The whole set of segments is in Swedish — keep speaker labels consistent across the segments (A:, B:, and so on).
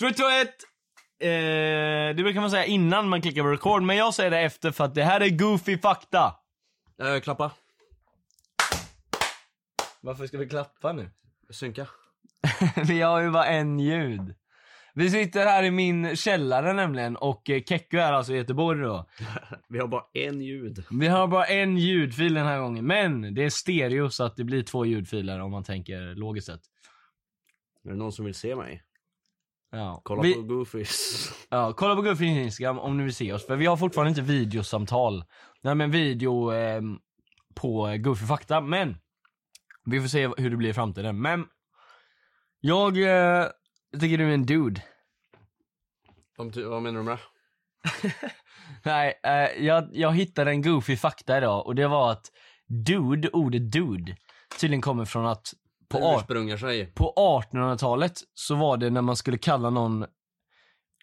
A: 3, 2, 1! Eh, det brukar man säga innan man klickar på record, men jag säger det efter för att det här är goofy fakta.
B: Eh, klappa. Varför ska vi klappa nu? Synka.
A: Vi har ju bara en ljud. Vi sitter här i min källare nämligen och eh, Kekko är alltså i Göteborg då.
B: Vi har bara en ljud.
A: Vi har bara en ljudfil den här gången, men det är stereo så att det blir två ljudfiler om man tänker logiskt sett.
B: Är det någon som vill se mig?
A: Ja.
B: Kolla
A: vi,
B: på Goofys.
A: Ja, kolla på Guffins Instagram om ni vill se oss, för vi har fortfarande inte videosamtal. Nej men video ehm, på Guffy Fakta, men vi får se hur det blir i framtiden. Men jag eh, tycker du är en dude.
B: Om ty- vad menar du med det?
A: Nej, eh, jag, jag hittade en Goofy Fakta idag och det var att dude, ordet dude, tydligen kommer från att på, art-
B: Ursprungar sig.
A: på 1800-talet så var det när man skulle kalla någon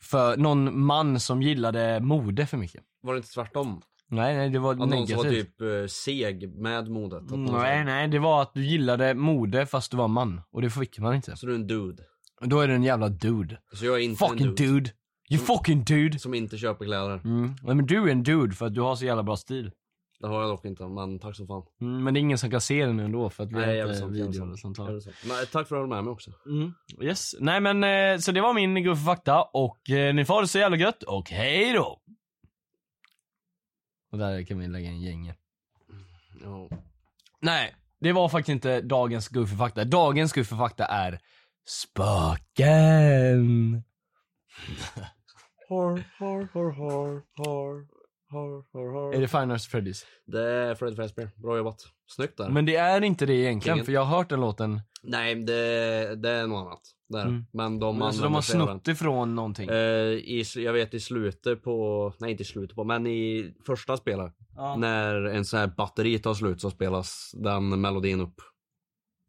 A: för någon man som gillade mode för mycket.
B: Var det inte tvärtom?
A: Nej, nej det var
B: Att någon som
A: negativt.
B: var typ eh, seg med modet. Att någon
A: Nej,
B: så-
A: nej, det var att du gillade mode fast du var man. Och det fick man inte.
B: Så du är en dude.
A: Och då är du en jävla dude.
B: Så jag är inte en
A: Fucking
B: dude,
A: dude. You fucking dude.
B: Som inte köper kläder.
A: Mm. Nej, men du är en dude för att du har så jävla bra stil.
B: Det har jag dock inte, men tack som fan.
A: Mm, men det är ingen som kan se den ändå för att vi har
B: jävligt
A: inte
B: sant, jävligt
A: video
B: sant,
A: eller sånt där.
B: jävligt sant. Men eh, tack för att du höll med mig också.
A: Mm. Yes. Nej men eh, så det var min Guffe Fakta och eh, ni får ha det så jävla gött och hej då. Och där kan vi lägga en gänge.
B: Ja.
A: Nej, det var faktiskt inte dagens Goofy fakta. Dagens Goofy fakta är spöken.
B: Har, har, har, har, har, har, har, har.
A: Är det Five Nights at Freddy's?
B: Det är Fred Fazbear. Bra jobbat. Snyggt där.
A: Men det är inte det egentligen,
B: Ingen.
A: för jag har hört den låten.
B: Nej, det, det är något annat. Där.
A: Mm.
B: Men de,
A: Men alltså, de
B: använder
A: har
B: sig av
A: snott ifrån någonting.
B: den. Eh, i, sl- jag vet i slutet på, nej inte i slutet på, men i första spelet.
A: Ja.
B: När en sån här batteri tar slut så spelas den melodin upp.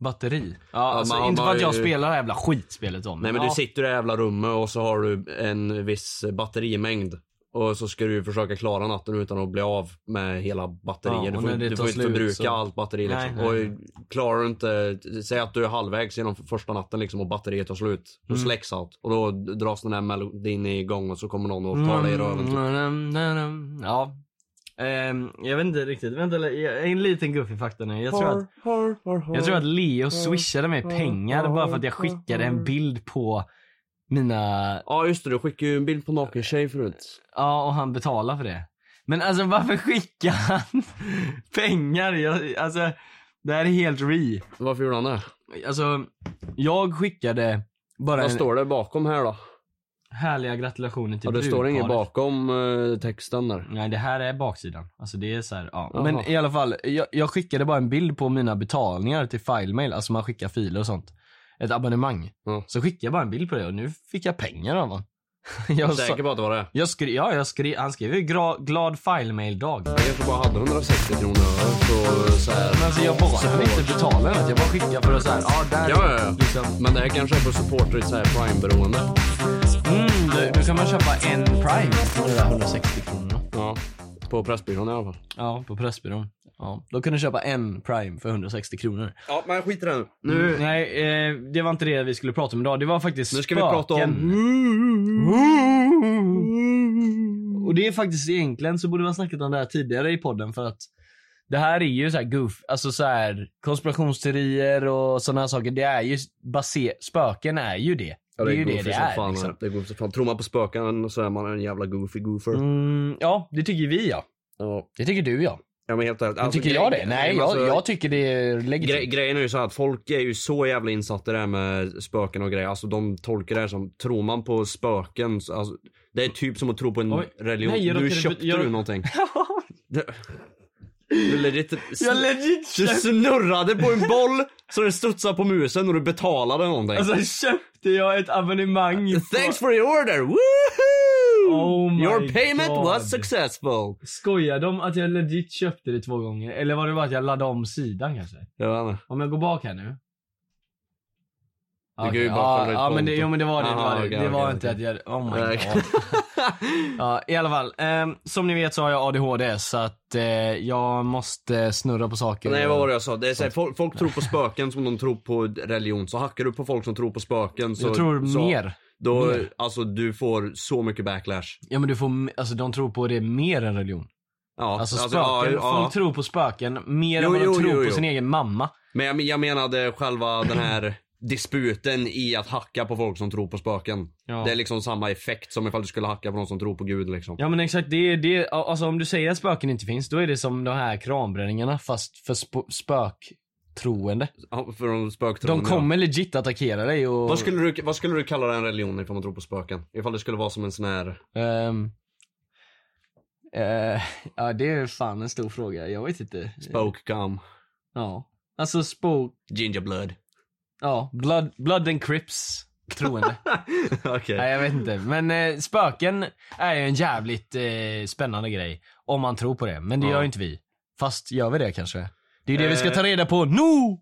A: Batteri. Ja, alltså,
B: man-
A: inte
B: man
A: för
B: har
A: att jag
B: ju-
A: spelar det här jävla skitspelet om.
B: Nej men
A: ja.
B: du sitter i det jävla rummet och så har du en viss batterimängd. Och så ska du försöka klara natten utan att bli av med hela batteriet.
A: Ja, och
B: du får,
A: när det tar
B: du får inte
A: slut
B: förbruka
A: så-
B: allt batteri
A: Nej,
B: liksom.
A: nej,
B: och klarar du inte, säg att du är halvvägs genom första natten liksom och batteriet tar slut. Då
A: Mm.
B: släcks allt. Och då dras den här melodin igång och så kommer någon och tar dig
A: Mm.
B: i röven. typ.
A: Ja. Ehm, jag vet inte riktigt. Vänta, eller- en liten Goofy fakta nu. Jag tror att Jag tror att Leo swishade mig pengar bara för att jag skickade en bild på mina...
B: Ja just det, du skickade ju en bild på naken tjej förut.
A: Ja, och han betalade för det. Men alltså varför skickar han pengar? Jag, alltså, det här är helt re.
B: Varför gjorde han det?
A: Alltså, jag skickade bara
B: Vad
A: en
B: står det bakom här då?
A: härliga gratulationer till
B: ja, det står inget
A: brudparet.
B: bakom eh, texten där.
A: Nej det här är baksidan. Alltså det är så här, ja.
B: Jaha.
A: Men i alla fall, jag, jag skickade bara en bild på mina betalningar till filemail, alltså man skickar filer och sånt. Ett abonnemang.
B: Ja.
A: Så skickade jag bara en bild på det och nu fick jag pengar av honom. Jag, sa-
B: Säker på att det var det?
A: jag skrev, ja jag skrev, han skrev ju gra, glad filemail-dag.
B: Jag kanske bara hade 160 kronor över så, så här.
A: Men alltså jag bara inte betala något, jag bara skickar för att såhär, ja där
B: Ja, ja, ja.
A: liksom.
B: Men det här kanske är för supporter i ett så här prime-beroende.
A: Mm, då, då kan man köpa en prime för det där 160 kronor.
B: Ja. På Pressbyrån i alla fall.
A: Ja, på Pressbyrån. Ja, då kan du köpa en prime för 160 kronor.
B: Ja, men skit i det nu.
A: Mm, nej, eh, det var inte det vi skulle prata om idag. Det var faktiskt
B: Nu ska vi
A: spöken.
B: prata om... Mm.
A: Och det är faktiskt egentligen så borde vi ha snackat om det här tidigare i podden för att det här är ju så här goof, alltså så här konspirationsteorier och sådana här saker. Det är ju base, spöken är ju det. det, är ju det det är.
B: Fan,
A: Liksom.
B: Det går för fan. Tror man på spöken och så är man en jävla goofy goofer.
A: Mm, ja, det tycker vi ja.
B: Ja.
A: Det tycker du ja.
B: ja, men helt ärligt.
A: Men
B: alltså,
A: tycker
B: gre-
A: jag det? Nej,
B: alltså,
A: jag, jag tycker det är legitimt.
B: Gre- grejen är ju så här att folk är ju så jävla insatta i det här med spöken och grejer. Alltså de tolkar det här som, tror man på spöken, så- alltså, det är typ som att tro på en
A: Oj.
B: religion.
A: Nej, jag
B: du
A: råkade-
B: köpte
A: jag-
B: du någonting? Det- Du, legit,
A: Jag legit
B: typ- du
A: köpte,
B: snurrade på en boll så den studsade på musen och du betalade någonting.
A: alltså, köpte jag ett abonnemang på-
B: Thanks for your order! Woohoo!
A: Oh my
B: your payment
A: God.
B: was successful!
A: Skojar de att jag legit köpte det två gånger? Eller var det bara att jag laddade om sidan kanske?
B: Jag vet inte.
A: Om jag går bak här nu?
B: kan
A: okej.
B: ju
A: ja,
B: bara kolla ditt
A: ja men det,
B: konto.
A: jo men det var det. det
B: Aha,
A: var, det.
B: okej,
A: det var
B: okej,
A: inte
B: okej.
A: att jag... Oh my
B: Nej.
A: god. ja, I alla fall. ehm, som ni vet så har jag ADHD så att eh, jag måste snurra på saker.
B: Nej vad var det jag sa? Det är så här, folk, folk tror på spöken som de tror på religion, så hackar du på folk som tror på spöken så...
A: Jag tror
B: så,
A: mer.
B: Då,
A: Mer.
B: alltså du får så mycket backlash.
A: Ja men du får, m- alltså de tror på det mer än religion.
B: Ja,
A: Alltså spöken,
B: ja, ja.
A: folk tror på spöken mer
B: Jo,
A: än vad de
B: jo,
A: tror
B: jo,
A: på
B: jo.
A: sin egen mamma.
B: Men jag, jag menade själva den här disputen i att hacka på folk som tror på spöken.
A: Ja.
B: Det är liksom samma effekt som ifall du skulle hacka på någon som tror på gud liksom.
A: Ja men exakt, det är det, alltså om du säger att spöken inte finns, då är det som de här kranbränningarna fast för sp- spöktroende.
B: Ja, För de spöktroende.
A: De kommer legit attackera dig och...
B: Vad skulle, du, vad skulle du kalla en religion ifall man tror på spöken? Ifall det skulle vara som en sån här...
A: Ehm, eh, ja det är fan en stor fråga, jag vet inte.
B: Spoke gum.
A: Ja. Alltså spoke,
B: Ginger blood.
A: ja, blood, blood and crips troende.
B: Okej.
A: Nej jag vet inte, men eh, spöken är ju en jävligt eh, spännande grej. Om man tror på det, men det
B: Ja.
A: gör ju inte vi. Fast gör vi det kanske? Det är ju det vi ska
B: Eh.
A: ta reda på nu!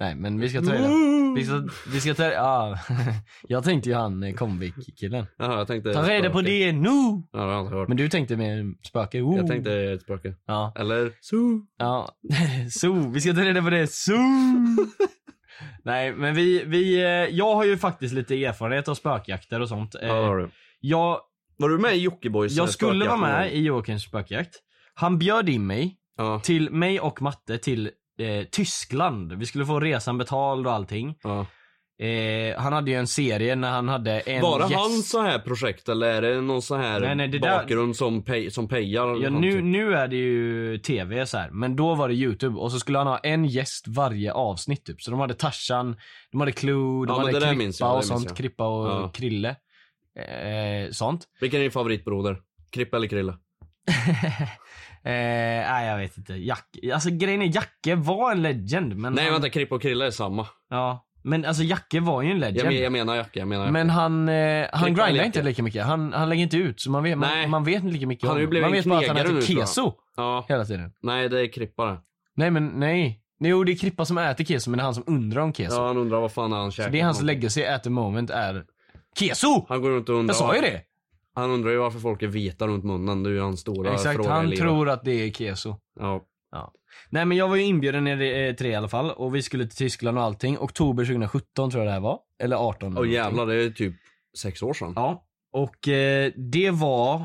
A: Nej men vi ska ta reda vi ska, vi ska ta, ja. Jag tänkte ju han eh, Comvik-killen.
B: Jaha, jag tänkte...
A: Ta reda på
B: spöke.
A: det nu!
B: Ja, det har jag inte hört.
A: Men du tänkte med spöke, oh.
B: Jag tänkte ett spöke.
A: Ja,
B: Eller? So.
A: ja. so, vi ska ta reda på det, so! Nej men vi, vi, eh, jag har ju faktiskt lite erfarenhet av spökjakter och sånt. Eh,
B: Ja, det har du.
A: Jag
B: Var du med i Jockibois
A: Jag
B: eh,
A: skulle vara
B: spökjakt någon
A: med
B: gång?
A: i Joakims spökjakt. Han bjöd in mig,
B: Ja.
A: till mig och matte, till eh, Tyskland. Vi skulle få resan betald och allting.
B: ja.
A: Eh, han hade ju en serie när han hade en
B: Bara
A: gäst.
B: han så här projekt eller är det någon så här
A: Nej, nej, det där-
B: bakgrund som, pej, som pejar? Liksom, typ?
A: Ja, nu, nu är det ju tv så här, men då var det youtube och så skulle han ha en gäst varje avsnitt typ. Så de hade Tarzan, de hade Clue, de
B: Ja, men
A: hade
B: det där
A: Krippa
B: minns jag, det
A: och
B: minns
A: sånt.
B: jag.
A: Krippa och
B: Ja.
A: Krille. Eh, sånt.
B: Vilken är din favoritbroder? Krippa eller Krilla?
A: eh, nej jag vet inte. Jack, alltså grejen är Jacke var en legend men
B: Nej
A: han-
B: vänta, Krippa och Krilla är samma.
A: Ja, men alltså Jacke var ju en
B: Jag, men,
A: legend.
B: jag menar Jacke, jag menar
A: Men han, eh, han
B: Klippa
A: grindar
B: lite.
A: inte lika mycket. Han, han lägger inte ut. Så man vet, man,
B: Nej.
A: man vet inte lika mycket
B: Han har
A: om
B: ju
A: honom.
B: blivit
A: Man
B: en
A: vet bara att han
B: knegare
A: äter
B: nu, tror jag.
A: keso
B: Ja,
A: hela tiden.
B: nej det är Krippa det.
A: Nej men nej. Jo det är Krippa som äter keso men det är han som undrar om keso.
B: Ja han undrar vad fan han käkar.
A: det är hans
B: för någonting.
A: legacy at the moment är keso!
B: Han går runt och undrar.
A: Jag sa ju det!
B: Han undrar ju varför folk är vita runt munnen. Det är ju hans stora
A: Exakt,
B: fråga i
A: han
B: livet.
A: tror att det är keso.
B: Ja.
A: Nej men jag var ju inbjuden ner i eh, tre i alla fall och vi skulle till Tyskland och allting. Oktober 2017 tror jag det här var. Eller 18. eller
B: Åh
A: någonting.
B: jävlar, det är typ sex år sedan.
A: Ja. Och eh, det var...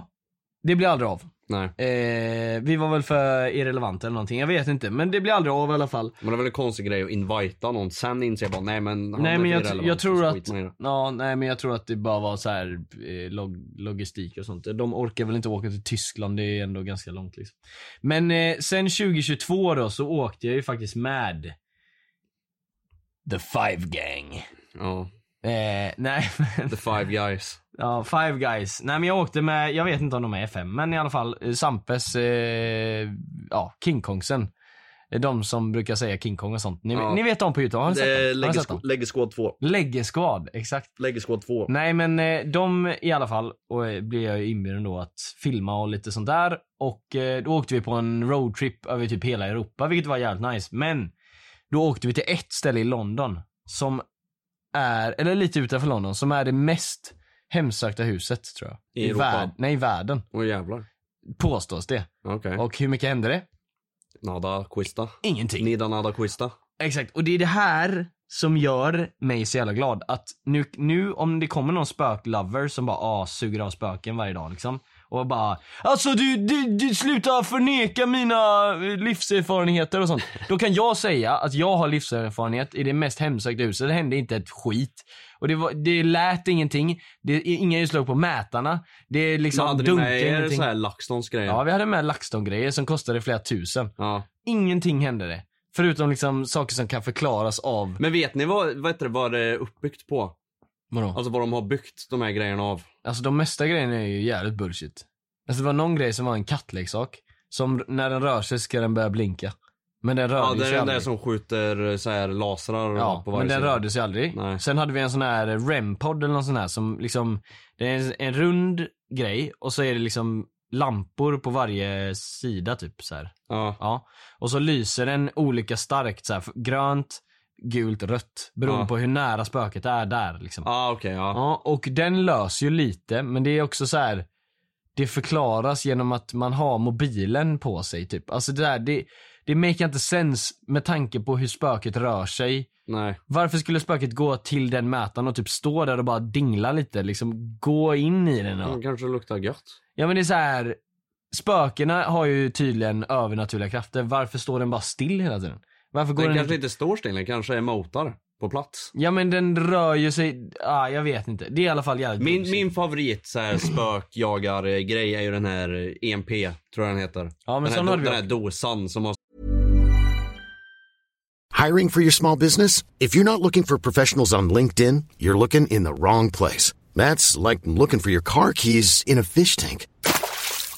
A: Det blev aldrig av.
B: Nej.
A: Eh, vi var väl för irrelevanta eller någonting, jag vet inte. Men det blir aldrig av i alla fall.
B: Men det är väl en konstig grej att invita någon. Sen inser jag bara, nej men han
A: Nej
B: är
A: men jag,
B: irrelevant,
A: jag tror
B: så skiter
A: att,
B: man i det.
A: ja, nej men jag tror att det bara var så här eh, log, logistik och sånt. De orkar väl inte åka till Tyskland, det är ändå ganska långt liksom. Men eh, sen 2022 då så åkte jag ju faktiskt med The Five Gang.
B: Ja.
A: Eh, nej men,
B: The five guys.
A: ja Five Guys. Nej men jag åkte med, jag vet inte om de är fem, men i alla fall eh, Sampes, eh, ja King Kongsen. Eh, De som brukar säga King Kong och sånt. Ni,
B: Ja.
A: ni vet dem på youtube, har ni sett
B: Det
A: dem? Har ni
B: lägger,
A: sett
B: sk-
A: dem?
B: lägger skåd två.
A: Läggeskvad, exakt.
B: Lägger skåd två.
A: Nej men eh, de i alla fall och eh, blev jag ju inbjuden då att filma och lite sånt där. Och eh, då åkte vi på en roadtrip över typ hela Europa vilket var jävligt nice. Men då åkte vi till ett ställe i London som är, eller lite utanför London, som är det mest hemsökta huset tror jag.
B: I Europa?
A: nej i världen.
B: Åh jävlar.
A: Påstås det.
B: Okej.
A: Och hur mycket hände det?
B: Nada quista.
A: Ingenting.
B: Nida nada quista.
A: Exakt, och det är det här som gör mig så jävla glad. Att nu, nu om det kommer någon spöklover som bara ah, suger av spöken varje dag liksom. Och bara alltså du, du, du sluta förneka mina eh, livserfarenheter och sånt. Då kan jag säga att jag har livserfarenhet i det mest hemsökta huset. Det hände inte ett skit. Och det, var, det lät ingenting. Det är inga utslag på mätarna. Det är
B: Men
A: liksom
B: hade ni
A: dunkade
B: med er
A: ingenting.
B: så här LaxTons grejer?
A: Ja
B: Ja.
A: vi hade med LaxTon-grejer som kostade flera tusen. Ingenting hände det. Förutom liksom saker som kan förklaras av
B: Men vet ni vad, vad, heter det, vad det är uppbyggt på?
A: Vadå? Alltså,
B: Alltså vad de har byggt de här grejerna av.
A: de mesta grejerna är ju jävligt bullshit. Alltså det var någon grej som var en kattleksak. Som när den rör sig ska den börja blinka. Men den rörde
B: Ja, det
A: sig
B: är den där
A: aldrig.
B: som skjuter så här lasrar
A: ja,
B: på varje
A: men den
B: sida.
A: rörde sig aldrig.
B: Nej.
A: Sen hade vi en sån här REM-podd eller någon sån här som liksom. Det är en, en rund grej och så är det liksom lampor på varje sida typ så här.
B: Ja.
A: Ja. Och så lyser den olika starkt så här. Grönt, gult, rött. Beroende
B: Ja.
A: på hur nära spöket är där liksom.
B: Ja okej ja.
A: Ja, och den löser ju lite, men det är också så här. Det förklaras genom att man har mobilen på sig typ. Alltså det där, det, Det make inte sense med tanke på hur spöket rör sig.
B: Nej.
A: Varför skulle spöket gå till den mätaren och typ stå där och bara dingla lite? Liksom gå in i den. Och...
B: De kanske luktar gött.
A: Ja men det är så här. Spökena har ju tydligen övernaturliga krafter. Varför står den bara still hela tiden? Varför går
B: Den
A: den,
B: kanske
A: inte...
B: inte står still, den kanske är motor på plats.
A: Ja men den rör ju sig. Ah, jag vet inte. Det är i alla fall jävligt
B: Min,
A: bullshit.
B: min favorit så här spökjagar-grej är ju den här eh, EMP, tror jag den heter.
A: Ja men
B: den, här,
A: sån
B: do-
A: hade vi
B: den
A: också.
B: här dosan som har
C: Hiring for your small business? If you're not looking for professionals on LinkedIn, you're looking in the wrong place. That's like looking for your car keys in a fish tank.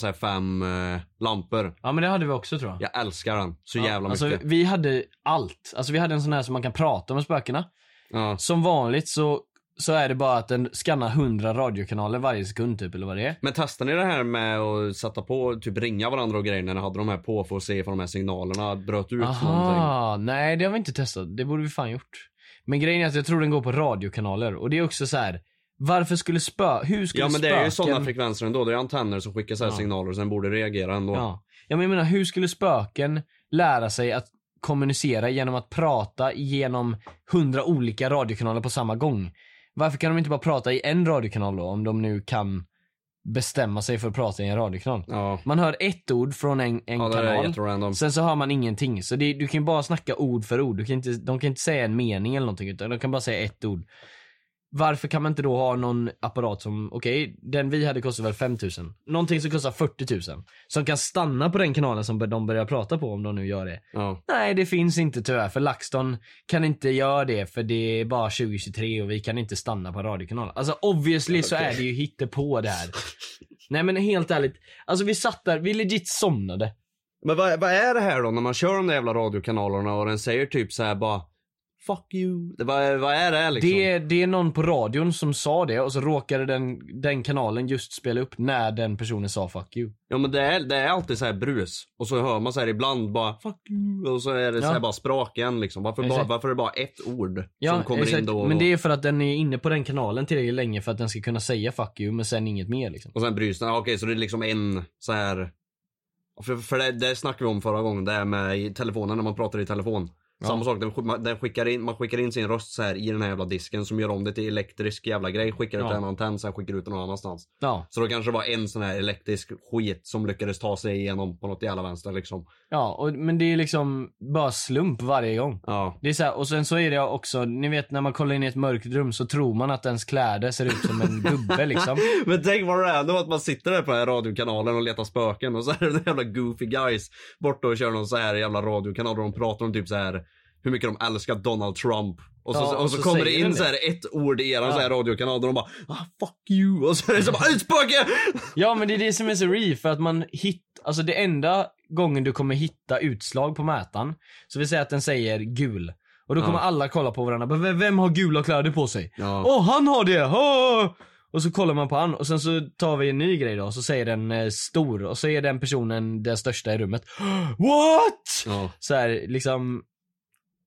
B: så här fem eh, lampor.
A: Ja men det hade vi också tror jag.
B: Jag älskar den så jävla
A: alltså,
B: mycket.
A: Vi hade allt. Alltså vi hade en sån här som man kan prata med spökena.
B: Ja.
A: Som vanligt så, så är det bara att den skannar 100 radiokanaler varje sekund typ eller vad det är.
B: Men testade ni det här med att sätta på, typ ringa varandra och grejer när ni hade de här på för att se ifall de här signalerna bröt ut någonting?
A: Aha, nej det har vi inte testat. Det borde vi fan gjort. Men grejen är att jag tror den går på radiokanaler och det är också så här. Varför skulle spö... Hur skulle
B: Ja men det
A: spöken...
B: är ju sådana frekvenser ändå. Det är antenner som skickar så här
A: Ja.
B: signaler och sen borde reagera ändå.
A: Ja. ja men jag menar hur skulle spöken lära sig att kommunicera genom att prata genom hundra olika radiokanaler på samma gång? Varför kan de inte bara prata i en radiokanal då om de nu kan bestämma sig för att prata i en radiokanal?
B: Ja.
A: Man hör ett ord från en, en
B: Ja, det där är
A: kanal,
B: jätterandom.
A: sen så hör man ingenting. Så det, du kan ju bara snacka ord för ord. Du kan inte, de kan inte säga en mening eller någonting, utan de kan bara säga ett ord. Varför kan man inte då ha någon apparat som, okej, den vi hade kostar väl 5000. Någonting som kostar 40 000. Som kan stanna på den kanalen som de börjar prata på om de nu gör det.
B: Ja.
A: Nej, det finns inte tyvärr, för LaxTon kan inte göra det för det är bara 2023 och vi kan inte stanna på radiokanal. Alltså obviously så är det ju hittepå det här. Nej men helt ärligt, alltså vi satt där, vi legit somnade.
B: Men vad, vad är det här då när man kör de där jävla radiokanalerna och den säger typ så här bara Fuck you. Det, vad, vad är det här liksom?
A: Det, det är någon på radion som sa det och så råkade den, den kanalen just spela upp när den personen sa 'fuck you'.
B: Ja men det är, det är alltid så här brus. Och så hör man så här ibland bara fuck you. Och så är det så här
A: Ja.
B: bara sprak igen liksom. Varför, bara,
A: Exakt.
B: varför är det bara ett ord som
A: Ja,
B: kommer in
A: exakt.
B: då och
A: men
B: då?
A: det är för att den är inne på den kanalen tillräckligt länge för att den ska kunna säga 'fuck you' men sen inget mer liksom.
B: Och sen brus. Ja, Okej så det är liksom en så här. För, för det, det snackade vi om förra gången. Det här med i telefonen när man pratar i telefon. Samma sak, den, sk- man- den skickar in, man skickar in sin röst så här i den här jävla disken som gör om det till elektrisk jävla grej. Skickar det
A: Ja.
B: till en antenn, sen skickar ut det någon annanstans.
A: Ja.
B: Så då kanske det var en sån här elektrisk skit som lyckades ta sig igenom på något jävla vänster liksom.
A: Ja, och, men det är liksom bara slump varje gång.
B: Ja.
A: Det är så här, och sen så är det också, ni vet när man kollar in i ett mörkt rum så tror man att ens kläder ser ut som en gubbe liksom.
B: Men tänk vad random att man sitter där på den här radiokanalen och letar spöken och så är det den jävla goofy guys borta och kör någon så här jävla radiokanal och de pratar om typ så här hur mycket de älskar Donald Trump. Och så,
A: Ja,
B: och
A: och
B: så,
A: så
B: kommer det
A: säger
B: in
A: den
B: så
A: det.
B: här ett ord i eran så här radiokanal och de bara ah, fuck you och så är det så bara ett spöke!
A: Ja men det är det som är så re, för att man hittar, alltså det enda gången du kommer hitta utslag på mätaren, så vi säger att den säger gul. Och då kommer alla kolla på varandra, "Men vem- vem har gula kläder på sig? Åh
B: Ja.
A: han har det! Åh! Och så kollar man på han och sen så tar vi en ny grej då, och så säger den eh, stor och så är den personen den största i rummet. What?
B: Ja.
A: Så här, liksom.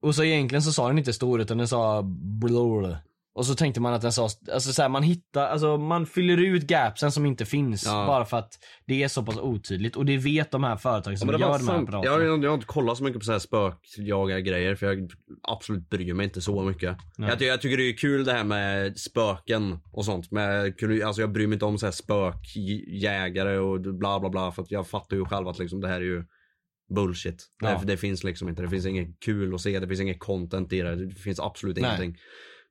A: Och så egentligen så sa den inte stor utan den sa blur. Och så tänkte man att den sa, alltså så här, man hittar, alltså man fyller ut gapsen som inte finns
B: Ja.
A: bara för att det är så pass otydligt och det vet de här företagen som
B: Ja, men det
A: gör
B: var
A: de här
B: sant.
A: apparaterna.
B: jag, jag, jag har inte kollat så mycket på så här spökjagar-grejer för jag absolut bryr mig inte så mycket. Jag, ty- jag tycker det är kul det här med spöken och sånt. Men jag, kunde- alltså jag bryr mig inte om så här spökjägare och bla bla bla för att jag fattar ju själv att liksom, det här är ju bullshit.
A: Ja.
B: Det, det finns liksom inte. Det finns inget kul att se. Det finns inget content i det. Det finns absolut
A: Nej.
B: ingenting.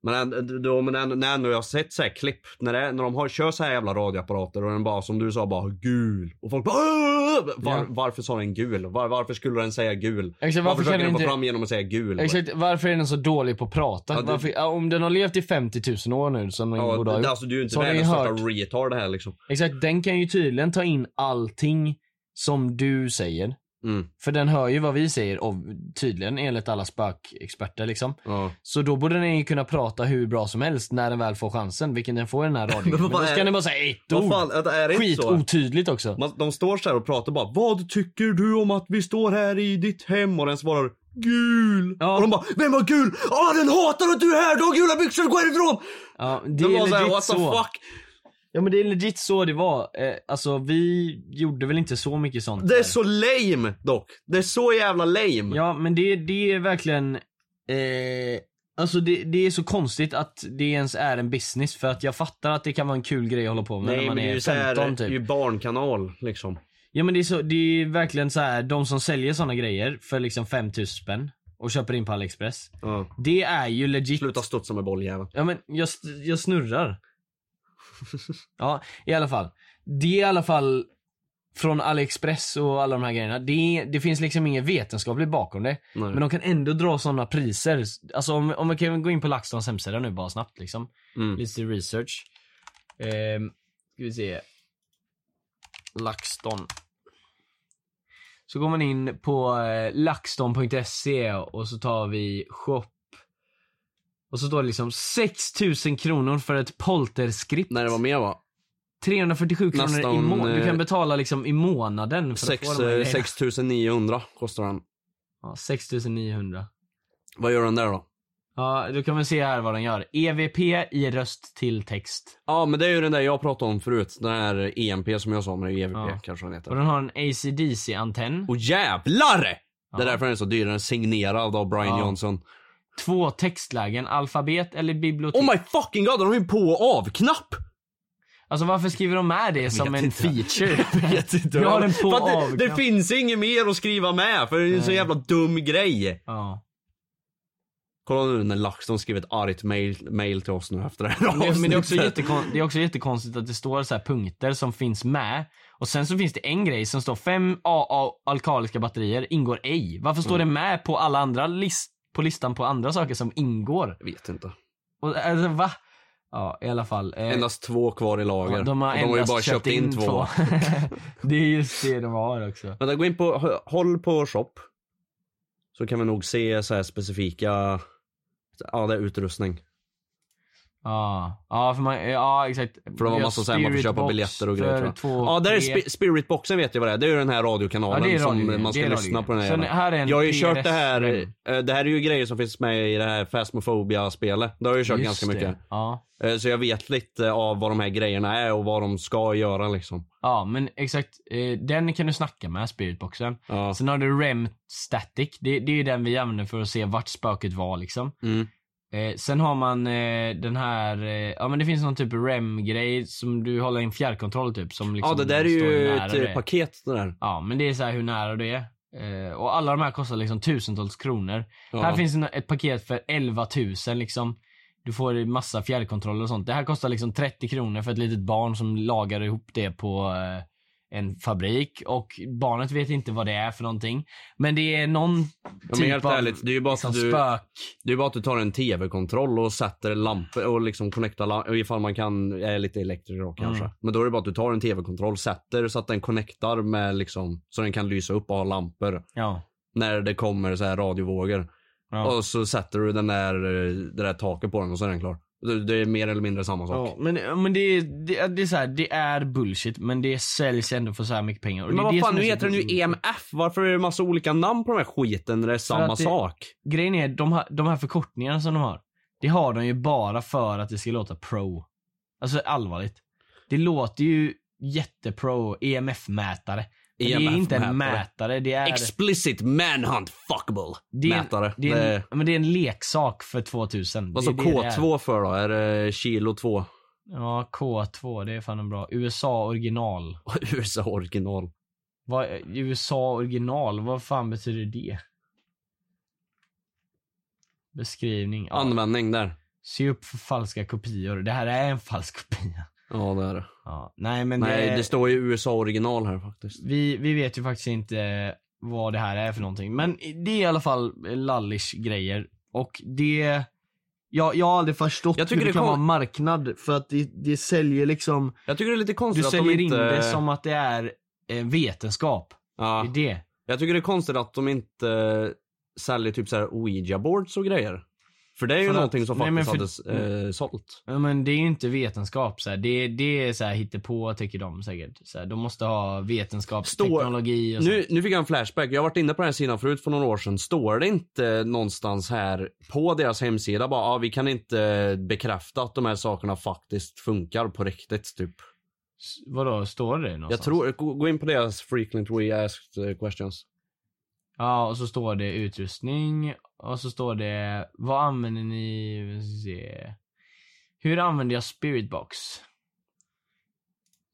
B: Men änd- då, men änd- när jag ändå har sett så här klipp, när, det, är- när de har, kör så här jävla radioapparater och den bara som du sa bara gul. Och folk bara "Åh!" var,
A: Ja.
B: Varför sa den gul? Var, varför skulle den säga gul?
A: Exakt, varför
B: varför
A: kan
B: försöker
A: den
B: den få
A: inte-
B: fram genom att säga gul?
A: Exakt, varför är den så dålig på att prata?
B: Ja, det-
A: Varför, ja, om den har levt i 50 000 år nu som den
B: Ja,
A: borde ha
B: det,
A: gjort.
B: alltså, du är ju inte
A: Så har
B: världens
A: ni hört.
B: största retard här liksom.
A: Exakt, den kan ju tydligen ta in allting som du säger.
B: Mm.
A: För den hör ju vad vi säger och tydligen enligt alla spökexperter liksom.
B: Ja.
A: Så då borde den ju kunna prata hur bra som helst när den väl får chansen, vilken den får i den här radion.
B: Men
A: Men
B: vad
A: då
B: är-
A: ska den bara säga ett
B: Vad
A: ord.
B: fan, vänta, är det inte så?
A: Skitotydligt också.
B: Man, de står så här och pratar bara Vad tycker du om att vi står här i ditt hem? Och den svarar Gul!
A: Ja.
B: Och de bara Vem var gul? Ah den hatar att du är här! Du har gula byxor, gå härifrån!
A: Ja, det
B: Det
A: är
B: var
A: legit
B: så här,
A: så.
B: what the fuck?
A: Ja men det är legit så det var. Eh, alltså vi gjorde väl inte så mycket sånt.
B: Det är
A: där.
B: så lame dock. Det är så jävla lame.
A: Ja men det, det är verkligen, eh, alltså det, det är så konstigt att det ens är en business för att jag fattar att det kan vara en kul grej att hålla på med
B: Nej
A: när
B: men
A: man
B: det är
A: är
B: ju
A: 15
B: så här, det är
A: typ.
B: ju barnkanal liksom.
A: Ja men det är, så, det är verkligen så här, de som säljer såna grejer för liksom 5000 spänn och köper in på AliExpress.
B: Ja.
A: Det är ju legit.
B: Sluta studsa med bolljäveln.
A: Ja men jag, st- jag snurrar. ja, i alla fall. Det är i alla fall från AliExpress och alla de här grejerna. Det, är- det finns liksom ingen vetenskapligt bakom det.
B: Nej.
A: Men de kan ändå dra sådana priser. Alltså om, om vi kan gå in på LaxTons hemsida nu bara snabbt liksom.
B: Mm.
A: Lite research. Ehm, ska vi se. LaxTon. Så går man in på eh, laxton.se och så tar vi shop. Och så står det liksom 6000 kronor för ett polterskript.
B: När det var mer va?
A: 347 kronor i
B: Nästan,
A: månaden. Du kan
B: eh,
A: betala liksom i månaden för
B: Sex,
A: att få de här
B: eh,
A: grejerna.
B: 6900 kostar den.
A: Ja, 6900.
B: Vad gör den där då?
A: Ja, då kan man se här vad den gör. EVP i röst till text.
B: Ja men det är ju den där jag pratade om förut. Den här EMP som jag sa, men det är ju EVP
A: Ja.
B: kanske den heter.
A: Och den har en ACDC-antenn.
B: Och jävlar! Det är
A: Ja.
B: därför den är så dyr. Den är signerad av Brian
A: Ja.
B: Johnson.
A: Två textlägen, alfabet eller bibliotek.
B: Oh my fucking god, den har ju en på och av-knapp!
A: Alltså varför skriver de med det som
B: vet
A: en
B: inte.
A: feature?
B: Jag vet inte.
A: Du har den på liksom.
B: För att
A: av-knapp.
B: det, det finns inget mer att skriva med, för det är en så jävla dum grej.
A: ja.
B: Kolla nu när LaxTon skrev ett argt mail, mail till oss nu efter det här
A: Men, men det, är också
B: avsnittet.
A: jättekon- det är också jättekonstigt att det står så här punkter som finns med. Och sen så finns det en grej som står 5 AA alkaliska batterier ingår ej. Varför står
B: Mm.
A: det med på alla andra list på listan på andra saker som ingår?
B: Jag vet inte.
A: Och, alltså, va? Ja, i alla fall. Eh,
B: Endast två kvar i lager.
A: Ja, de har,
B: och de har ju
A: endast
B: bara köpt in två.
A: det är just det de har också.
B: Vänta, gå in på, håll på shop. Så kan vi nog se så här specifika, ja det är utrustning.
A: Ja, ja, för man, ja exakt.
B: För det var massa såhär man får köpa biljetter och grejer tror jag. Ja där är spi- Spiritboxen vet jag vad det är, det är ju den här radiokanalen
A: Ja, det är radio-
B: som man ska
A: det är
B: lyssna
A: radio.
B: på den här,
A: Sen
B: jävla.
A: här är en
B: Jag har ju kört det
A: PRS
B: här,
A: -grej.
B: eh, det här är ju grejer som finns med i det här Phasmophobia spelet. Det har jag ju kört ganska mycket.
A: Det. Ja.
B: Eh, Så jag vet lite av vad de här grejerna är och vad de ska göra liksom.
A: ja, men exakt. Eh, den kan du snacka med, spiritboxen.
B: Ja.
A: Sen har du REM static. Det, det är ju den vi använder för att se vart spöket var liksom.
B: Mm.
A: Eh, sen har man eh, den här, eh, ja men det finns någon typ REM-grej som du håller i en fjärrkontroll typ. Som liksom
B: ja det där är
A: står
B: ju
A: nära
B: ett
A: dig.
B: eh, paket det där.
A: Ja, men det är så här hur nära det är. Eh, och alla de här kostar liksom tusentals kronor.
B: Ja.
A: Här finns en- ett paket för 11 000 liksom. Du får massa fjärrkontroller och sånt. Det här kostar liksom 30 kronor för ett litet barn som lagar ihop det på eh, en fabrik. Och barnet vet inte vad det är för någonting. Men det är någon
B: men
A: typ
B: helt
A: av
B: ärligt, det är ju bara
A: liksom,
B: att du-
A: spök.
B: Det är bara att du tar en tv-kontroll och sätter lampor och liksom connectar lampor ifall man kan, jag är lite elektriker då kanske.
A: Mm.
B: Men då är det bara att du tar en tv-kontroll, sätter så att den connectar med liksom, så den kan lysa upp och ha lampor.
A: Ja.
B: När det kommer så här radiovågor.
A: Ja.
B: Och så sätter du den där, eh, det där taket på den och så är den klar. Det det är mer eller mindre samma sak.
A: Ja, men, men det, är- det, är- det är så här, det är bullshit men det säljs ändå för så här mycket pengar. Och det är
B: Men vad
A: det
B: fan,
A: som
B: nu
A: är så
B: heter den ju E
A: bullshit.
B: EMF. Varför är det massa olika namn på den här skiten när det är samma
A: att det-
B: sak?
A: Grejen är, de här, de här förkortningarna som de har. Det har de ju bara för att det ska låta pro. Alltså allvarligt. Det låter ju jättepro, EMF-mätare. Men det är inte en E
B: EMF-mätare.
A: mätare, det är...
B: Explicit manhunt fuckable
A: det är en,
B: mätare.
A: Det är Alltså, en, men det är en leksak för 2000.
B: vad
A: det
B: sa
A: är det det är.
B: K2 för då? Är det kilo 2?
A: Ja, K2. Det är fan en bra. USA original.
B: USA original.
A: Vad, USA original, vad fan betyder det? Beskrivning. Ja.
B: Användning där.
A: Se upp för falska kopior. Det här är en falsk kopia.
B: Ja det är det.
A: Ja. Nej men
B: Nej
A: det,
B: det står ju USA original här faktiskt.
A: vi, vi vet ju faktiskt inte vad det här är för någonting. Men det är i alla fall lallish grejer. Och det... Jag, jag har aldrig förstått
B: Jag tycker
A: hur det
B: det
A: kan
B: kom-
A: vara marknad. För att det, det säljer liksom...
B: Jag tycker det är lite
A: Du
B: konstigt att de
A: säljer
B: inte...
A: in det som att det är eh, vetenskap.
B: Ja.
A: Det är det.
B: Jag tycker det är konstigt att de inte eh, säljer typ såhär ouija boards och grejer. För det är ju
A: För att-
B: någonting som
A: nej, men
B: faktiskt
A: för-
B: hade eh, sålt.
A: Ja, men det är ju inte vetenskap. Så här. Det, det är så här, hittepå tycker de säkert. Så här, de måste ha
B: Står-
A: vetenskapsteknologi och
B: Nu, nu fick jag en flashback. Jag har varit inne på den här sidan förut för några år sedan. Står det inte någonstans här på deras hemsida bara ah, vi kan inte bekräfta att de här sakerna faktiskt funkar på riktigt typ.
A: S- Vadå, står det någonstans?
B: Jag tror, gå gå in på deras frequent we asked eh, questions.
A: Ja, och så står det utrustning. Och så står det, vad använder ni? Vi ska se. Hur använder jag spiritbox?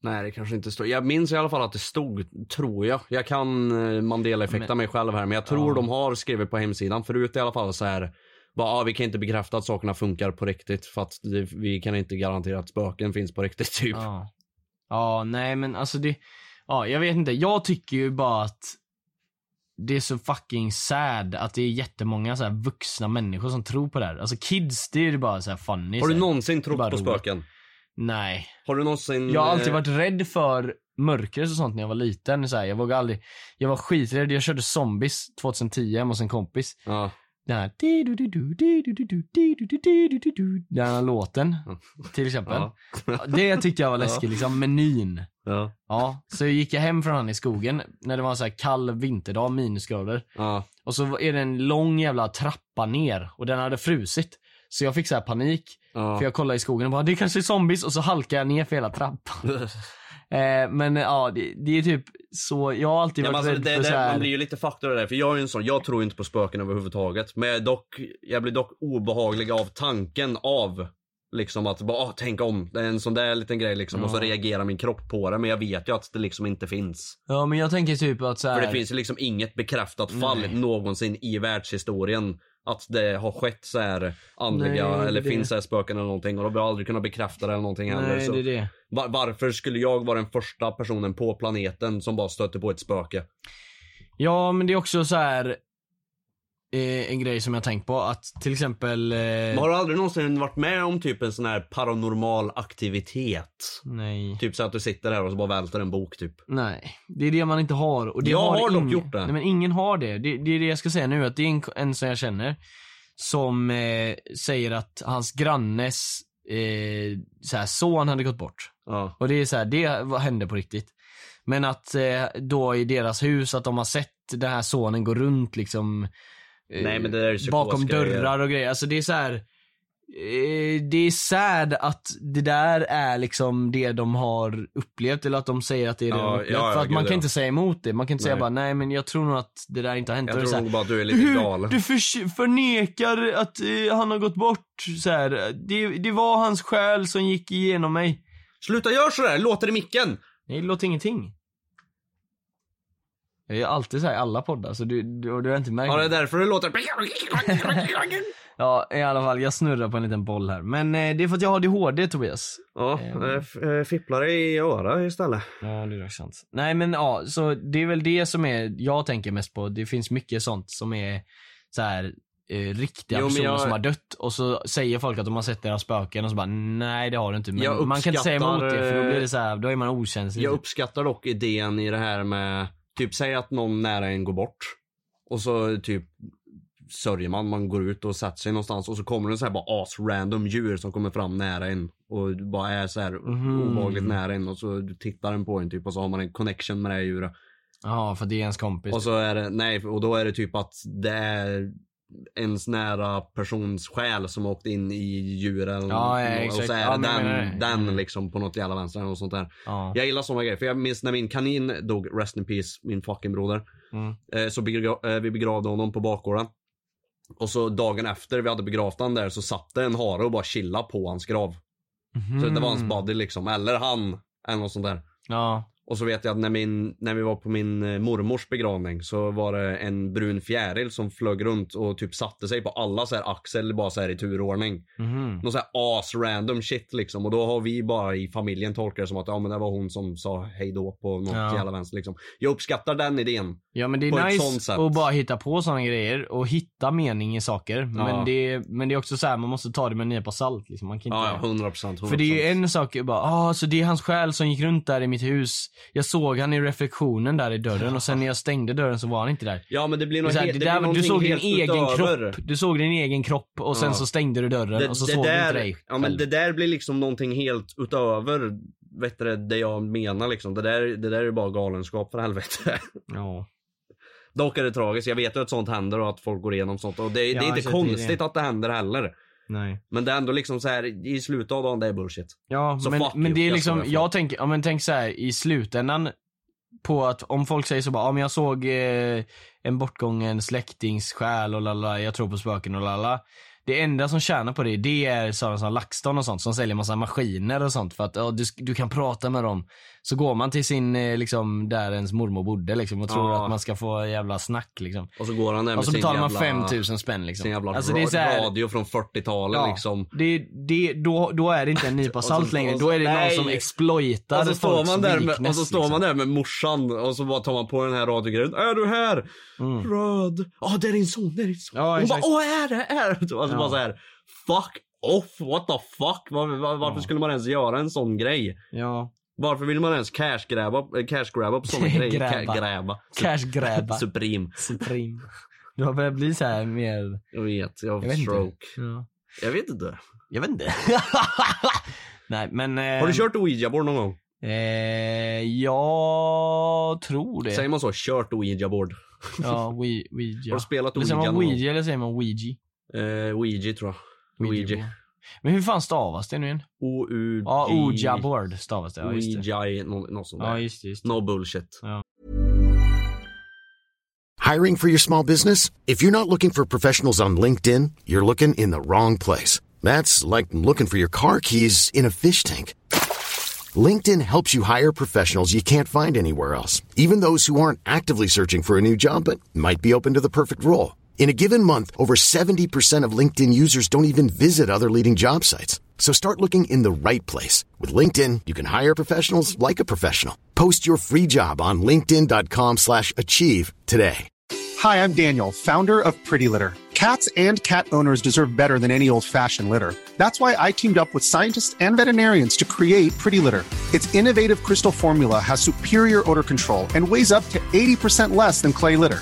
B: Nej det kanske inte står. Jag minns i alla fall att det stod, tror jag. Jag kan eh, Mandela-effekta
A: Men-
B: mig själv här men jag tror
A: Ja.
B: de har skrivit på hemsidan förut i alla fall så här. Bara, ah, vi kan inte bekräfta att sakerna funkar på riktigt för att det, vi kan inte garantera att spöken finns på riktigt typ.
A: Ja. ja, nej men alltså det, ja jag vet inte. Jag tycker ju bara att det är så fucking sad att det är jättemånga så här vuxna människor som tror på det här. Alltså kids, det är ju bara så här funny.
B: Har du
A: så här.
B: någonsin trott
A: Det är
B: på
A: bara roligt.
B: spöken?
A: Nej.
B: Har du någonsin...
A: Jag har alltid
B: eh,
A: varit rädd för mörker och sånt när jag var liten. Så här, jag vågade aldrig. Jag var skiträdd. Jag körde zombies 2010 hemma hos en kompis.
B: Ja.
A: Den här... di-du-du-du, di-du-du-du, di-du-du-du-du-du, Den här låten, till exempel.
B: Ja.
A: Det tyckte jag var läskigt, liksom menyn.
B: Ja.
A: Ja, så gick jag hem från han i skogen när det var en så här kall vinterdag, minusgrader.
B: Ja.
A: Och så är det en lång jävla trappa ner och den hade frusit. Så jag fick så här panik.
B: Ja.
A: För jag kollade i skogen och bara, det kanske är zombies och så halkade jag ner för hela trappan. eh, men eh, ja, det, det är typ så, jag har alltid
B: Ja,
A: varit
B: men alltså,
A: rädd
B: det,
A: för
B: det,
A: så här.
B: man blir ju lite fucked av det där, för jag är ju en sån, jag tror ju inte på spöken överhuvudtaget. Men jag, är dock, jag blir dock obehaglig av tanken av liksom att bara, ah, tänk om. Det är en sån där liten grej liksom och så reagerar min kropp på det. Men jag vet ju att det liksom inte finns.
A: Ja men jag tänker typ att så här,
B: För det finns ju liksom inget bekräftat fall
A: Nej.
B: någonsin i världshistorien att det har skett så här andliga
A: Nej, det är
B: eller
A: det.
B: finns så här spöken eller någonting och de har aldrig kunnat bekräfta det eller någonting heller.
A: nej
B: Så
A: det är det.
B: va- varför skulle jag vara den första personen på planeten som bara stötte på ett spöke?
A: Ja men det är också så här eh, en grej som jag har tänkt på att till exempel eh,
B: Men har du aldrig någonsin varit med om typ en sån här paranormal aktivitet?
A: Nej.
B: Typ så att du sitter här och så bara välter en bok typ.
A: Nej, det är det man inte har. Och det
B: Jag har dock
A: ingen.
B: gjort det.
A: Nej, men ingen har det. det. Det är det jag ska säga nu, att det är en, en som jag känner som eh, säger att hans grannes eh, så här, son hade gått bort.
B: Ja.
A: Och det är så här, det var- hände på riktigt. Men att eh, då i deras hus, att de har sett den här sonen gå runt liksom eh,
B: Nej, men det där är psykos-
A: bakom
B: grejer.
A: dörrar och grejer. Alltså det är så här. eh, Det är sad att det där är liksom det de har upplevt eller att de säger att det är det
B: Ja,
A: de har upplevt.
B: ja, ja,
A: För att
B: gud,
A: man kan
B: ja.
A: inte säga emot det. Man kan inte säga
B: Nej.
A: bara nej men jag tror nog att det där inte har hänt.
B: Jag
A: Och det är
B: tror
A: så här,
B: nog bara att du är lite
A: du,
B: galen.
A: Du förs- förnekar att eh, han har gått bort så här. Det, det var hans själ som gick igenom mig.
B: Sluta gör sådär, låter i micken!
A: Nej, det låter ingenting. Jag är alltid så här i alla poddar, så du, du, och du har inte märkt
B: Ja det är därför det låter...
A: Ja, i alla fall. Jag snurrar på en liten boll här. Men eh, det är för att jag har ADHD, Tobias.
B: Ja, eh, f- eh, fipplare i öra istället.
A: Ja, det är sant. Nej, men ja, så det är väl det som är, jag tänker mest på. Det finns mycket sånt som är så här eh, riktiga
B: Jo, men
A: personer
B: jag-
A: som har dött och så säger folk att de har sett deras spöken och så bara nej det har du inte. Men
B: Jag
A: man kan inte säga emot det
B: uppskattar,
A: för då blir
B: eh,
A: det så här, då är man okänslig.
B: Jag uppskattar dock idén i det här med, typ säg att någon nära en går bort. Och så typ sörjer man, man går ut och sätter sig någonstans och så kommer det så här bara as-random djur som kommer fram nära en och bara är så här
A: Mhm.
B: obehagligt nära en och så tittar den på en typ och så har man en connection med det här djuret.
A: Ja, för det är ens kompis.
B: Och så är det, nej, och då är det typ att det är ens nära persons själ som åkte in i djur eller
A: Ja, ja,
B: och
A: exakt.
B: så är
A: Ja,
B: det
A: men jag menar
B: den,
A: det. Mm.
B: den liksom på något jävla vänster eller något sånt där.
A: Ja.
B: Jag gillar såna grejer, för jag minns när min kanin dog, rest in peace, min fucking broder. Eh, Så begra- eh, vi begravde honom på bakgården. Och så dagen efter vi hade begravt han där så satt det en hare och bara chilla på hans grav. Så
A: Mhm.
B: det var
A: Mm.
B: hans buddy liksom, eller han, eller något sånt där.
A: Ja.
B: Och så vet jag att när, min, när vi var på min eh, mormors begravning så var det en brun fjäril som flög runt och typ satte sig på alla så här axel bara så här i turordning.
A: Mhm.
B: Någon så här as-random shit liksom. Och då har vi bara i familjen tolkat det som att ja men det var hon som sa hej då på något
A: Ja.
B: jävla vänster liksom. Jag uppskattar den idén.
A: Ja men det
B: På
A: är
B: ett sånt
A: nice
B: sätt.
A: att bara hitta på sådana grejer och hitta mening i saker.
B: Ja.
A: Men, det, men det är också så här man måste ta det med en nypa salt. Liksom. Man kan inte...
B: Ja, ja 100%. 100%.
A: För det är ju en sak att bara, ah, så det är hans själ som gick runt där i mitt hus. Jag såg han i reflektionen där i dörren och sen när jag stängde dörren så var han inte där.
B: Ja men det blir
A: Det är
B: något
A: så här,
B: helt,
A: det
B: det
A: där,
B: blir
A: du såg din
B: helt
A: egen
B: utöver.
A: kropp. Du såg din egen kropp och sen
B: Ja.
A: så stängde du dörren och så såg du inte dig
B: ja, men
A: själv.
B: det där blir liksom någonting helt utöver vet du, det det jag menar liksom. Det där, det där är bara galenskap för helvete.
A: Ja.
B: Dock är det tragiskt. Jag vet ju att sånt händer och att folk går igenom sånt. Och det,
A: Ja,
B: det är
A: så
B: inte
A: det är det.
B: konstigt att det händer heller.
A: Nej.
B: Men det är ändå liksom så här i slutet av dagen det är bullshit.
A: Ja,
B: Så
A: men,
B: fuck
A: men
B: you,
A: det är
B: jag
A: liksom,
B: skojar,
A: jag,
B: fuck.
A: tänker, ja, men tänk så här i slutändan på att om folk säger så bara, ja men jag såg eh, en bortgången släktings själ och lala, jag tror på spöken och lala. Det enda som tjänar på det, det är sådana som LaxTon och sånt som säljer massa maskiner och sånt för att ja, du, sk- du kan prata med dem. Så går man till sin, eh, liksom där ens mormor bodde liksom och tror
B: Ja.
A: att man ska få jävla snack liksom.
B: Och så går han där med
A: Och så
B: sin
A: betalar man
B: jävla,
A: 5000 spänn liksom.
B: sin jävla
A: Alltså det är så här,
B: radio från 40-talet liksom.
A: det, det, då, då är det inte en nypa
B: så
A: salt
B: står-
A: längre,
B: och
A: då
B: så-
A: är det
B: nej.
A: någon som exploitar
B: Och så, står
A: folks
B: man där med,
A: weakness,
B: och så står man där
A: liksom.
B: med morsan och så bara tar man på den här radiogrejen. Är du här? Röd. Ja, det är din son, det är din son.
A: Mm. Ja,
B: Hon bara,
A: exakt.
B: åh är det, är det? Alltså
A: Ja.
B: bara så här, fuck off, what the fuck. Var, var, varför
A: Ja.
B: skulle man ens göra en sån grej?
A: Ja.
B: Varför vill man ens cash grabba, eh, cash grabba på såna grejer?
A: Grabba.
B: Ca- gräba.
A: Cash grabba.
B: Supreme.
A: Supreme. Du har börjat bli så här mer...
B: Jag vet, jag
A: Jag
B: har
A: vet
B: stroke.
A: inte. Ja.
B: Jag vet inte.
A: Jag vet inte. Nej men... eh,
B: Har du kört ouija-board någon gång?
A: Eh, jag tror det.
B: Säger man så? Kört ouija-board?
A: Ja, we, Ouija.
B: Har du spelat
A: Eller säger
B: Ouija
A: man
B: någon gång?
A: Ouija eller säger man Ouija?
B: Eh, ouija tror jag. Ouija.
A: Men hur fan stavas det nu igen?
B: O-U-J.
A: Ja, Ouija board stavas det. Ja, just det.
B: Ouija, nå- något sånt
A: Ja,
B: där.
A: just det. Just det.
B: No bullshit.
C: Hiring for your small business? If you're not looking for professionals on LinkedIn, you're looking in the wrong place. That's like looking for your car keys in a fish tank. LinkedIn helps you hire professionals you can't find anywhere else, even those who aren't actively searching for a new job but might be open to the perfect role. In a given month, over 70% of LinkedIn users don't even visit other leading job sites. So start looking in the right place. With LinkedIn, you can hire professionals like a professional. Post your free job on linkedin.com slash achieve today.
D: Hi, I'm Daniel, founder of Pretty Litter. Cats and cat owners deserve better than any old fashioned litter. That's why I teamed up with scientists and veterinarians to create Pretty Litter. Its innovative crystal formula has superior odor control and weighs up to 80% less than clay litter.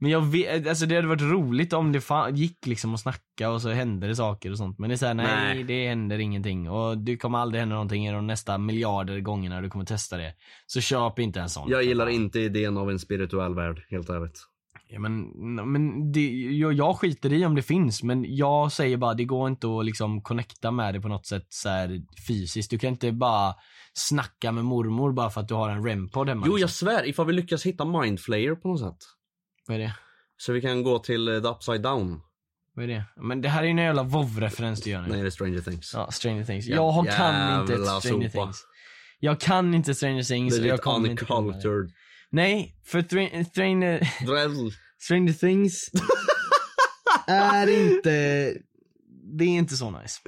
A: Men jag vet, alltså det hade varit roligt om det fan, gick liksom att snacka och så hände det saker och sånt. Men det är såhär, nej,
B: Nej.
A: det händer ingenting. Och det kommer aldrig hända någonting i de nästa miljarder gångerna du kommer testa det. Så köp inte en sån.
B: Jag gillar inte idén av en spirituell värld, helt ärligt.
A: Ja, men men det, jag, jag skiter i om det finns, men jag säger bara det går inte att liksom connecta med det på något sätt så här fysiskt. Du kan inte bara snacka med mormor bara för att du har en rempod hemma.
B: Jo, jag
A: liksom.
B: svär, ifall vi lyckas hitta mindflayer på något sätt.
A: Vad är det?
B: Så vi kan gå till eh, the upside down.
A: Vad är det? Men det här är ju en jävla vov-referens du gör nu.
B: Nej, det är Stranger Things.
A: Ja, Stranger Things.
B: Ja,
A: Jag har- kan
B: jävla
A: inte ett Stranger
B: sopa.
A: Things. Jag kan inte Stranger Things. och
B: det är
A: jag
B: lite
A: kommer inte kunna det.
B: uncultured.
A: Nej, för Thra- Stranger,
B: Dräll.
A: Stranger Things är inte... Det är inte så nice.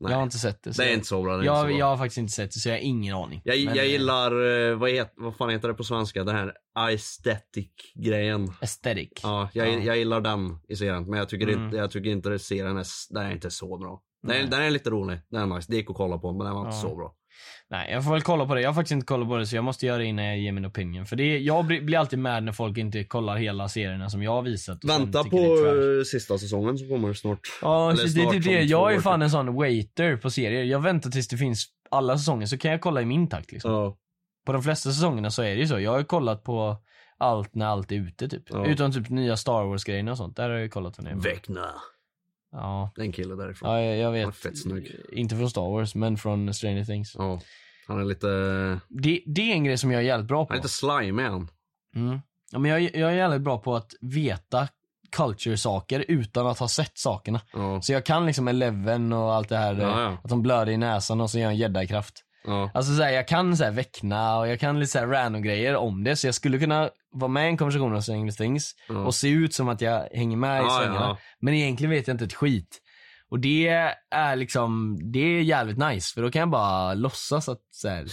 B: Nej.
A: Jag har inte sett det. så
B: Det är
A: jag-
B: inte så bra. Det är inte så
A: Jag,
B: bra.
A: jag har faktiskt inte sett det så jag har ingen aning.
B: jag,
A: Men,
B: jag
A: eh,
B: gillar, eh, vad, het, vad fan heter det på svenska? Den här aesthetic-grejen.
A: Aesthetic.
B: Ja, jag, jag gillar den i serien. Men jag tycker,
A: Mm.
B: inte, jag tycker inte serien är, s- den är inte så bra. Den, den är lite rolig. Den är nice. Det gick att kolla på, men den var inte så bra.
A: Nej, jag får väl kolla på det. Jag har faktiskt inte kollat på det, så jag måste göra det innan jag ger min opinion. För det är, jag blir blir alltid mad när folk inte kollar hela serierna som jag har visat. och sen
B: Vänta
A: tycker det är
B: på
A: trash.
B: eh, sista säsongen som kommer snart.
A: Ja,
B: Eller
A: så det, det,
B: snart
A: det.
B: om två
A: Jag är
B: år
A: fan
B: typ.
A: en sån waiter på serier. Jag väntar tills det finns alla säsonger, så kan jag kolla i min takt liksom.
B: Ja.
A: På de flesta säsongerna så är det ju så. Jag har ju kollat på allt när allt är ute typ.
B: Ja.
A: Utom typ nya Star Wars-grejerna och sånt. Där har jag ju kollat vad det är.
B: Väckna.
A: Ja.
B: Den killen därifrån.
A: ja, jag, jag
B: Han är
A: vet.
B: fett snygg.
A: Inte från Star Wars, men från Stranger Things.
B: Ja. Han är lite...
A: Det, det är en grej som jag är jävligt bra på.
B: Han är lite slime är han.
A: Mm. Ja, men jag, jag är jävligt bra på att veta culture-saker utan att ha sett sakerna.
B: Ja.
A: Så jag kan liksom Eleven och allt det här. eh,
B: Ja, ja.
A: Att de blöder i näsan och så gör en gäddakraft.
B: ja.
A: Alltså så här, jag kan så här väckna och jag kan lite så här random grejer om det. Så jag skulle kunna vara med i en konversation om Stranger Things
B: Ja.
A: och se ut som att jag hänger med i
B: Mm. Ja,
A: svängarna.
B: ja.
A: Men egentligen vet jag inte ett skit. Och det är liksom, det är jävligt nice för då kan jag bara låtsas att så här.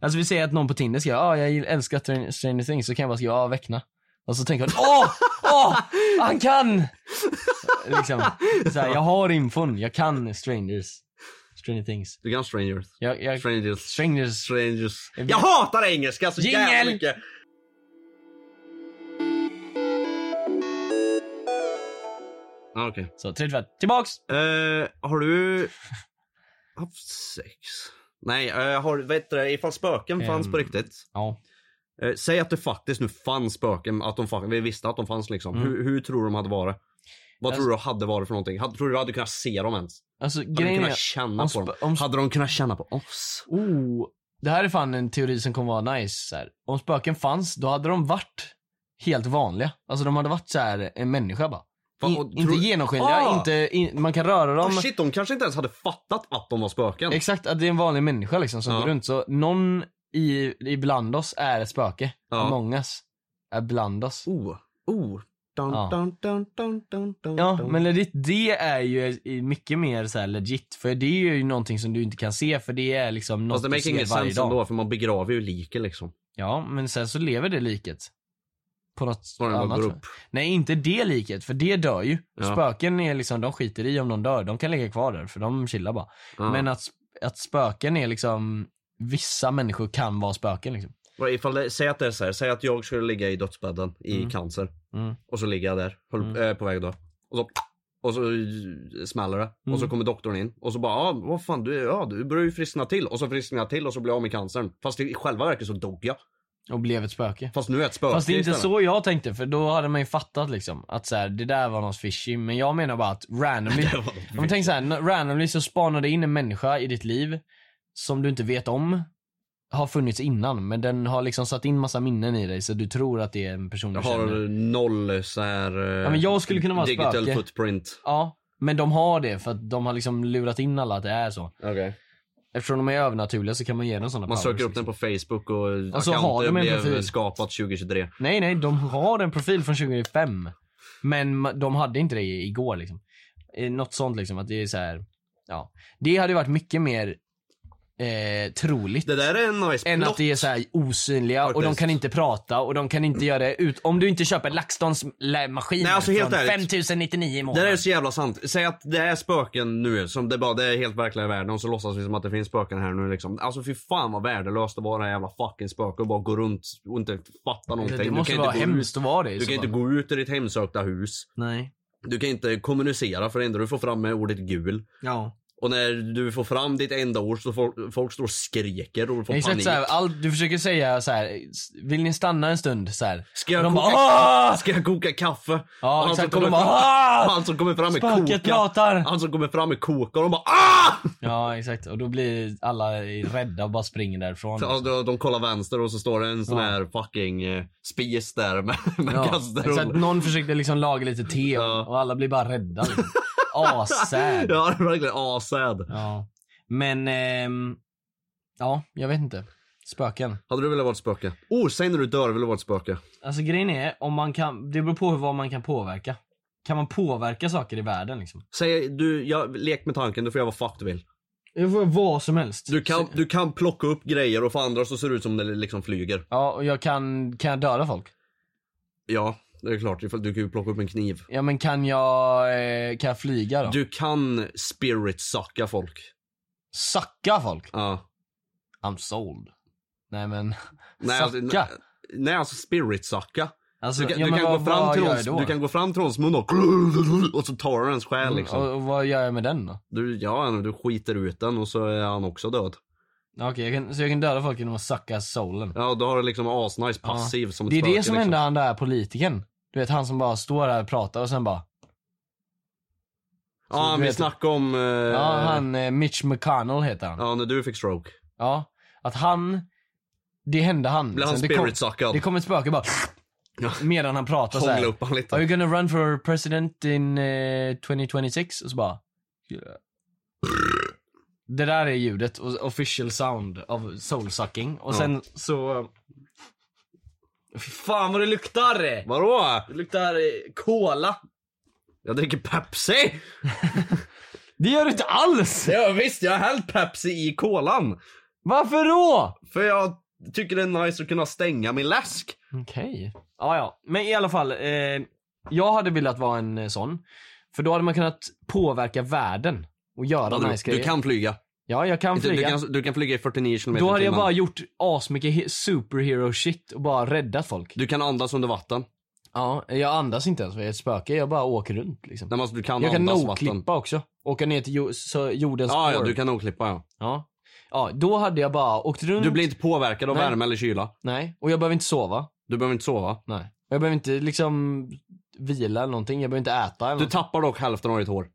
A: Alltså vi säger att någon på Tinder skriver ah, jag älskar Str- Stranger Things, så kan jag bara skriva ah, väckna. Och så tänker jag åh, åh, han kan! Liksom, så här, jag har infon, jag kan strangers. Stranger Things.
B: Du kan strangers.
A: Jag, jag,
B: Strangers.
A: strangers.
B: Strangers. Jag hatar engelska så jävla
A: Jingel!
B: mycket. Ja, Okej.
A: Så 35. Tillbaks!
B: Eh, har du haft sex? Nej, eh, har, vet du, det, ifall spöken fanns på
A: Ehm.
B: riktigt.
A: Ja.
B: Eh, säg att det faktiskt nu fanns spöken, att de fa- vi visste att de fanns liksom.
A: Mm.
B: Hur, hur tror du de hade varit? Vad tror du hade varit för någonting? Hade, tror du du hade kunnat se dem ens?
A: Alltså
B: Hade du
A: grejen
B: kunnat
A: är...
B: känna
A: om
B: på dem?
A: spö- om sp-
B: Hade de kunnat känna på oss?
A: Oh, det här är fan en teori som kommer vara nice. Så här. Om spöken fanns, då hade de varit helt vanliga. Alltså de hade varit så här en människa bara.
B: Va,
A: In,
B: och
A: Inte
B: tror-
A: genomskinliga,
B: Ah!
A: inte, in, man kan röra dem.
B: Oh, shit, de kanske inte ens hade fattat att de var spöken.
A: Exakt, att det är en vanlig människa liksom som
B: Ja.
A: går runt. Så någon i, ibland oss är ett spöke.
B: Ja.
A: Among us är bland oss.
B: oh, oh. Dun,
A: Ja.
B: dun, dun, dun, dun, dun,
A: Ja,
B: dun.
A: men legit, det är ju i- mycket mer så här legit. För det är ju någonting som du inte kan se för det är liksom något
B: Fast det
A: du
B: make
A: ser
B: ingen
A: varje
B: sense
A: dag.
B: ändå för man begraver ju liken liksom.
A: Ja, men sen så lever det liket. På något
B: Bara den bara
A: annat.
B: går
A: tror jag.
B: upp.
A: Nej, inte det liket, för det dör ju.
B: Ja.
A: Spöken är liksom, de skiter i om de dör. De kan ligga kvar där, för de chillar bara.
B: Ja.
A: Men att, att spöken är liksom, vissa människor kan vara spöken liksom.
B: Vad Ifall det, säg att det är så här, säg att jag skulle ligga i dödsbädden i cancer.
A: Mm.
B: Och så ligger jag där, höll, eh, på väg att dö. Och så, och så smäller det. Och
A: Mm.
B: så kommer doktorn in. Och så bara, ah, vad fan du, ja, du börjar ju friskna till. Och så frisknar jag till och så blir jag av med cancern. Fast i själva verket så dog jag.
A: Och blev ett spöke.
B: Fast nu är jag ett spöke
A: Fast det är inte
B: istället.
A: så jag tänkte, för då hade man ju fattat liksom att så här, det där var något fishy. Men jag menar bara att randomly,
B: var något
A: om man tänker så här, n- randomly så spanar det in en människa i ditt liv som du inte vet om har funnits innan, men den har liksom satt in massa minnen i dig så du tror att det är en person du
B: Jag
A: känner.
B: har noll så här, eh,
A: Ja, men jag skulle kunna vara
B: digital
A: spöke.
B: footprint.
A: Ja, men de har det för att de har liksom lurat in alla att det är så.
B: Okej.
A: Eftersom de är övernaturliga så kan man ge dem sådana
B: Man
A: powers,
B: söker upp
A: liksom.
B: den på Facebook och
A: Alltså, har
B: accounter
A: de en
B: blev
A: profil?
B: skapat 2023.
A: Nej, nej, de har en profil från 2005. Men ma- de hade inte det igår liksom. Eh, Något sånt liksom, att det är så här. Ja. Det hade varit mycket mer eh, troligt.
B: Det där är en nice
A: än
B: plot.
A: att det är så här osynliga och de
B: Faktiskt.
A: kan inte prata och de kan inte göra det ut... Om du inte köper LaxTons lä- maskin
B: Nej, alltså, helt
A: från
B: ärligt.
A: 5099 i
B: Det
A: månaden.
B: där är så jävla sant. Säg att det är spöken nu, som det bara det är helt verkliga världen och så låtsas vi som att det finns spöken här nu liksom. Alltså fy fan vad värdelöst det var det här jävla fucking spöke och bara gå runt och inte fatta någonting.
A: det
B: Du
A: måste
B: kan inte
A: vara
B: gå ut-
A: hemskt att vara det i
B: Du
A: så
B: kan inte
A: fall.
B: gå ut ur ditt hemsökta hus.
A: Nej.
B: Du kan inte kommunicera för det enda du får fram är ordet gul.
A: Ja.
B: Och när du får fram ditt enda ord så folk, folk står och skriker och får
A: Exakt
B: panik.
A: såhär, allt, du försöker säga så här. vill ni stanna en stund så här.
B: Ska jag
A: de
B: koka-
A: bara "Ah!"
B: Ska jag koka kaffe?
A: Ja,
B: Och han
A: exakt.
B: som
A: Och de
B: kommer
A: bara,
B: fram-
A: "Ah!"
B: Han som kommer fram med
A: Spöket
B: koka.
A: pratar.
B: Han som kommer fram med koka och de bara ah!
A: Ja exakt, och då blir alla rädda och bara springer därifrån. liksom.
B: Ja, de, de kollar vänster och så står det en sån
A: Ja.
B: här fucking eh, spis där med, med
A: Ja,
B: kastrull.
A: exakt, någon försökte liksom laga lite te och,
B: Ja.
A: och alla blir bara rädda. Liksom. Asad. Ja.
B: Ja, det är verkligen asad.
A: Men, ehm, ja, jag vet inte. Spöken.
B: Hade du velat vara ett spöke? Oh, säg när du dör vill du vara ett spöke.
A: Alltså grejen är, om man kan, det beror på hur- vad man kan påverka. Kan man påverka saker i världen liksom?
B: Säg, du, jag, lek med tanken, du får göra vad fuck du vill.
A: Jag får vad som helst.
B: Du kan, du kan plocka upp grejer och för andra så ser det ut som det liksom flyger.
A: Ja, och jag kan, kan jag döda folk?
B: Ja, Det är klart, ifall du kan ju plocka upp en kniv.
A: Ja men kan jag, eh, kan jag flyga då?
B: Du kan spirit sucka folk.
A: Sacka folk?
B: Ja.
A: I'm sold. Nej men,
B: Nej, alltså,
A: sacka?
B: n- nej alltså spirit sucka.
A: Alltså,
B: Du kan,
A: ja,
B: du
A: men
B: kan
A: vad-
B: gå fram
A: vad
B: till
A: gör
B: hans,
A: jag då? Mm,
B: du kan gå fram till hans mun och, och så tar du hans själ liksom.
A: och, och vad gör jag med den då?
B: Du, ja, du skiter ut den och så är han också död.
A: Ja, Okej, jag kan, så jag kan döda folk genom att sacka soulen?
B: Ja, då har du liksom asnice passiv som ett
A: Det är
B: spöke,
A: det som
B: liksom.
A: hände han där politikern. Du vet han som bara står där och pratar och sen bara,
B: Ja, han
A: du
B: vill
A: vet-
B: snacka om... Eh,
A: ja han eh, Mitch McConnell heter han.
B: Ja, när du fick stroke.
A: Ja, att han, det hände han.
B: Blev han
A: Sen det kom-
B: spirit-suckad?
A: Det kom ett spöke bara,
B: Ja.
A: medan han pratar så
B: Hångla
A: här.
B: upp han lite.
A: Are you gonna run for president in eh, 2026? Och så bara... "Yeah." Det där är ljudet, och- official sound av soul sucking. Och sen så... Fy fan vad det luktar!
B: Vadå?
A: Det luktar eh, cola.
B: Jag dricker Pepsi!
A: Det gör det inte alls!
B: Ja, visst, jag har hällt Pepsi i kolan.
A: Varför då?
B: För jag tycker det är nice att kunna stänga min läsk.
A: Okej. Ja, ja. Men i alla fall. Eh, jag hade velat vara en eh, sån. För då hade man kunnat påverka världen. Och göra
B: Vadå?
A: nice
B: du
A: grejer.
B: kan flyga.
A: Ja, jag kan
B: Du, du,
A: flyga.
B: kan, du kan flyga i 49 km
A: Då hade jag bara gjort asmycket he- superhero shit och bara räddat folk.
B: Du kan andas under vatten.
A: Ja, jag andas inte ens för jag är ett spöke. Jag bara åker runt liksom.
B: Nej, men alltså, du kan
A: jag kan
B: andas vatten.
A: no-klippa också. Åka ner till jo- så- jordens
B: Ja, ja,
A: orb.
B: du kan no-klippa ja.
A: ja. Ja, då hade jag bara åkt runt.
B: Du blir inte påverkad av
A: Mm. Nej.
B: värme eller kyla.
A: Nej, och jag behöver inte sova.
B: Du behöver inte sova.
A: Nej. Och jag behöver inte liksom vila eller någonting. Jag behöver inte äta eller
B: Du
A: någonting.
B: tappar dock hälften av ditt hår.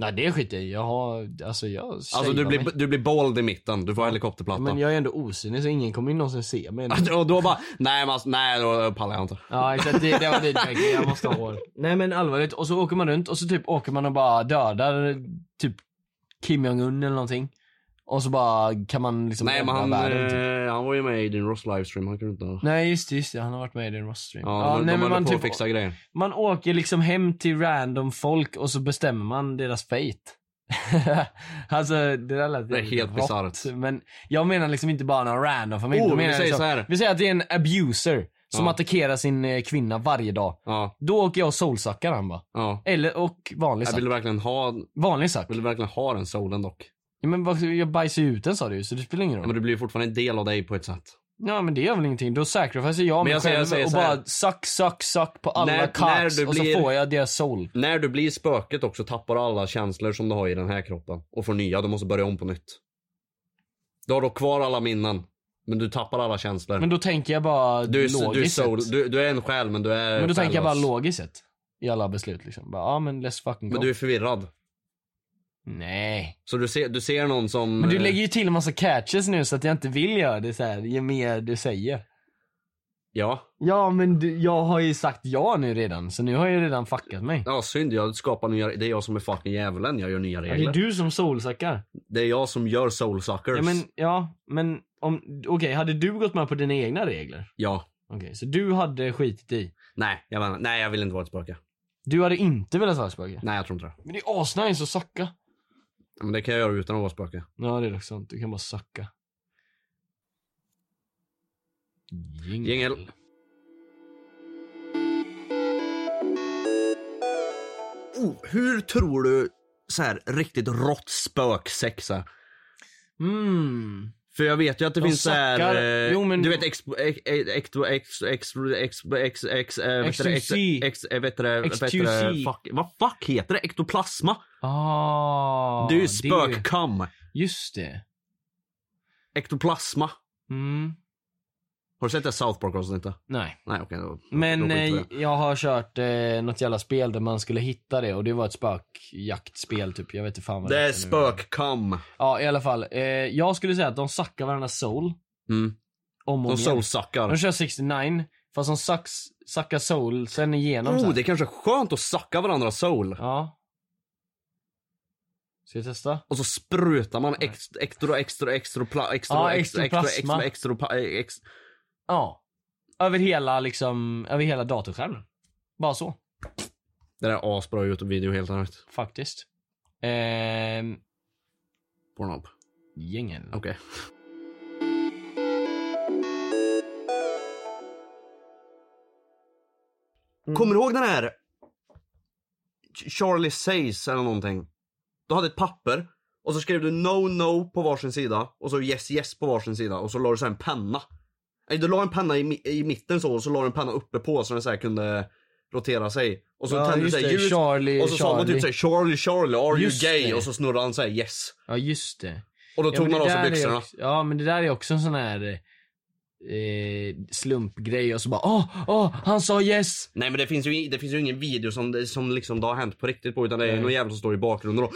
A: Nej, det skiter jag i. Jag har, alltså jag
B: Alltså du
A: shavar
B: blir,
A: mig.
B: du blir bald i mitten, du får
A: Ja,
B: helikopterplatta.
A: Men jag är ändå osynlig så ingen kommer ju någonsin se mig.
B: Och då bara, nej men alltså, nej då pallar jag inte.
A: Ja exakt, det, det var dit jag måste ha hår. Nej men allvarligt, och så åker man runt och så typ åker man och bara dödar typ Kim Jong-Un eller någonting. Och så bara kan man liksom
B: nej men
A: rädda
B: han,
A: världen, typ.
B: eh, han var ju med i din Ross livestream, han kunde inte... Ja,
A: Nej just det, just det, han har varit med i den Ross-stream.
B: de,
A: nej men
B: de höll
A: man
B: på
A: typ,
B: att fixa grejer.
A: man åker liksom hem till random folk och så bestämmer man deras fate. alltså det där lät
B: Det är
A: jävligt
B: helt
A: rått,
B: bisarrt.
A: Men jag menar liksom inte bara någon random familj.
B: Oh,
A: Då
B: vi
A: menar jag
B: säger
A: liksom-
B: så här.
A: Vi säger att det är en abuser som
B: Ja.
A: attackerar sin eh, kvinna varje dag.
B: Ja,
A: Då åker jag och soulsuckar han bara.
B: ja.
A: Eller, och vanlig
B: Jag
A: sack.
B: vill du verkligen ha,
A: Vanlig sack.
B: vill du verkligen ha den solen dock?
A: Ja, men vad- jag bajsar ju ut den sa du ju, så det spelar ingen
B: Ja, men
A: roll.
B: du blir ju fortfarande en del av dig på ett sätt.
A: Ja men det gör väl ingenting. Då sacrificear jag mig
B: jag säger-
A: själv
B: jag säger
A: och
B: så här.
A: bara suck, suck, suck på alla
B: När-
A: cocks
B: när du
A: och så
B: blir-
A: får jag deras soul.
B: När du blir spöket också tappar du alla känslor som du har i den här kroppen och får nya, du måste börja om på nytt. Du har dock kvar alla minnen, men du tappar alla känslor.
A: Men då tänker jag bara
B: du, är, du, är
A: logiskt
B: soul,
A: sett.
B: du, du är en själ men du är
A: Men då tänker jag bara
B: själlös.
A: logiskt sett. I alla beslut liksom. Bara, ja men let's fucking go.
B: Men du är förvirrad.
A: Nej.
B: Så du ser, du ser någon som...
A: Men du
B: eh,
A: lägger ju till en massa catches nu så att jag inte vill göra det så här. ju mer du säger.
B: Ja.
A: Ja men du, jag har ju sagt ja nu redan, så nu har jag ju redan fuckat mig.
B: Ja synd, jag skapar nya... Det är jag som är fucking djävulen, jag gör nya
A: Ja, Alltså, det är
B: regler.
A: du som soulsuckar.
B: Det är jag som gör soulsuckers.
A: Ja men, ja, men om, okej, hade du gått med på dina egna regler?
B: Ja.
A: Okej, så du hade skitit i?
B: Nej, jag menar, nej jag vill inte vara ett spöke.
A: Du hade inte velat vara spöke?
B: Nej jag tror inte det.
A: Men det är asnice att sucka.
B: Men det kan jag göra utan att vara spöke.
A: Ja, det är dock sant. Du kan bara sucka. Jingle.
B: Jingel. Oh, hur tror du så här riktigt rått spöksex är?
A: Mm.
B: För jag vet ju att det
A: De
B: finns
A: suckar.
B: såhär,
A: Jo, men-
B: du vet expo, ex, ex, ex, ex, ex, ex, ex, eh, vet du det, ex,
A: XQC.
B: ex, eh, vet du det, vet du det,
A: XQC.
B: fuck, vad fuck heter det? Ektoplasma?
A: Ah,
B: det är ju
A: det-
B: spökkam.
A: Just det.
B: Ektoplasma.
A: Mm.
B: Har du sett det South Park avsnittet?
A: Nej.
B: Nej okej. då- då- då
A: Men
B: skiter vi i
A: eh,
B: det.
A: jag har kört eh, något jävla spel där man skulle hitta det och det var ett spökjaktspel typ. Jag vet inte fan vad det
B: Det är
A: heter nu.
B: spökkam.
A: Ja i alla fall. Eh, jag skulle säga att de suckar varandras soul.
B: Mm.
A: Om och
B: De
A: om igen. De
B: soulsuckar.
A: kör 69, fast de sucks, suckar soul sen igenom så
B: Oh,
A: här.
B: det är kanske är skönt att sucka varandras soul.
A: Ja. Ska jag testa?
B: Och så sprutar man extra, extra, extra, extra, pla-
A: Ja,
B: extra, extra, extra,
A: ektoplasma.
B: extra, extra, pa- eh, ex-
A: Ja. Över hela liksom, över hela datorskärmen. Bara så,
B: Det där är asbra Youtube-video helt ärligt.
A: faktiskt. Ehm,
B: Pornhub.
A: gängen.
B: Okej.
A: Mm.
B: Kommer du ihåg den här Ch- Charlie Says eller någonting? Du hade ett papper och så skrev du no no på varsin sida och så yes yes på varsin sida och så la du så här en penna. Nej, du la en penna i, mi- i mitten så och så la du en penna uppe på så den så här kunde rotera sig. Och så
A: Ja,
B: tände du
A: just
B: så här
A: det.
B: ljus
A: Charlie,
B: och så sa man typ
A: Charlie.
B: såhär Charlie Charlie are
A: Just
B: you gay?
A: det.
B: Och så snurrade han såhär yes.
A: Ja just det.
B: Och då
A: ja,
B: tog
A: men
B: man
A: det
B: av sig
A: där är
B: byxorna.
A: också- Ja men det där är också en sån här eh, slumpgrej och så bara åh, åh, han sa yes!
B: Nej men det finns ju, i- det finns ju ingen video som, som liksom det har hänt på riktigt på utan det är någon jävel som står i bakgrunden och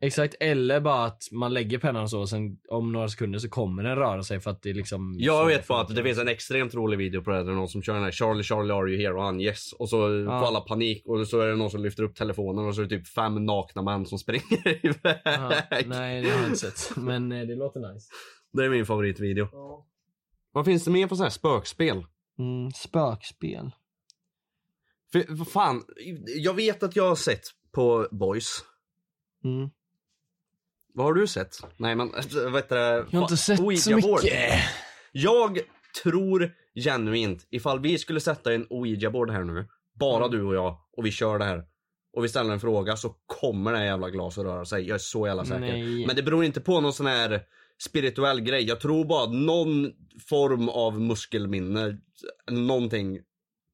A: Exakt, eller bara att man lägger pennan så och sen om några sekunder så kommer den röra sig för att det är liksom...
B: Jag
A: så
B: vet bara att
A: funkar.
B: det finns en extremt rolig video på det här, där någon som kör den här Charlie Charlie are you here och han yes och så får alla panik och så är det någon som lyfter upp telefonen och så är det typ fem nakna män som springer
A: Ja,
B: iväg.
A: nej det har jag inte sett, men eh, det låter nice.
B: det är min favoritvideo. Vad finns det mer för sådana här spökspel?
A: Mm, spökspel.
B: För, vad fan, jag vet att jag har sett på Boys.
A: Mm.
B: Vad har du sett? Nej men vad heter det?
A: Jag har inte
B: Fan,
A: sett så
B: Ouija-board.
A: mycket.
B: Jag tror genuint, ifall vi skulle sätta en ouija-board här nu, bara
A: Mm.
B: du och jag, och vi kör det här. Och vi ställer en fråga så kommer det här jävla glaset röra sig. Jag är så jävla säker.
A: Nej.
B: Men det beror inte på någon sån här spirituell grej. Jag tror bara att någon form av muskelminne, någonting,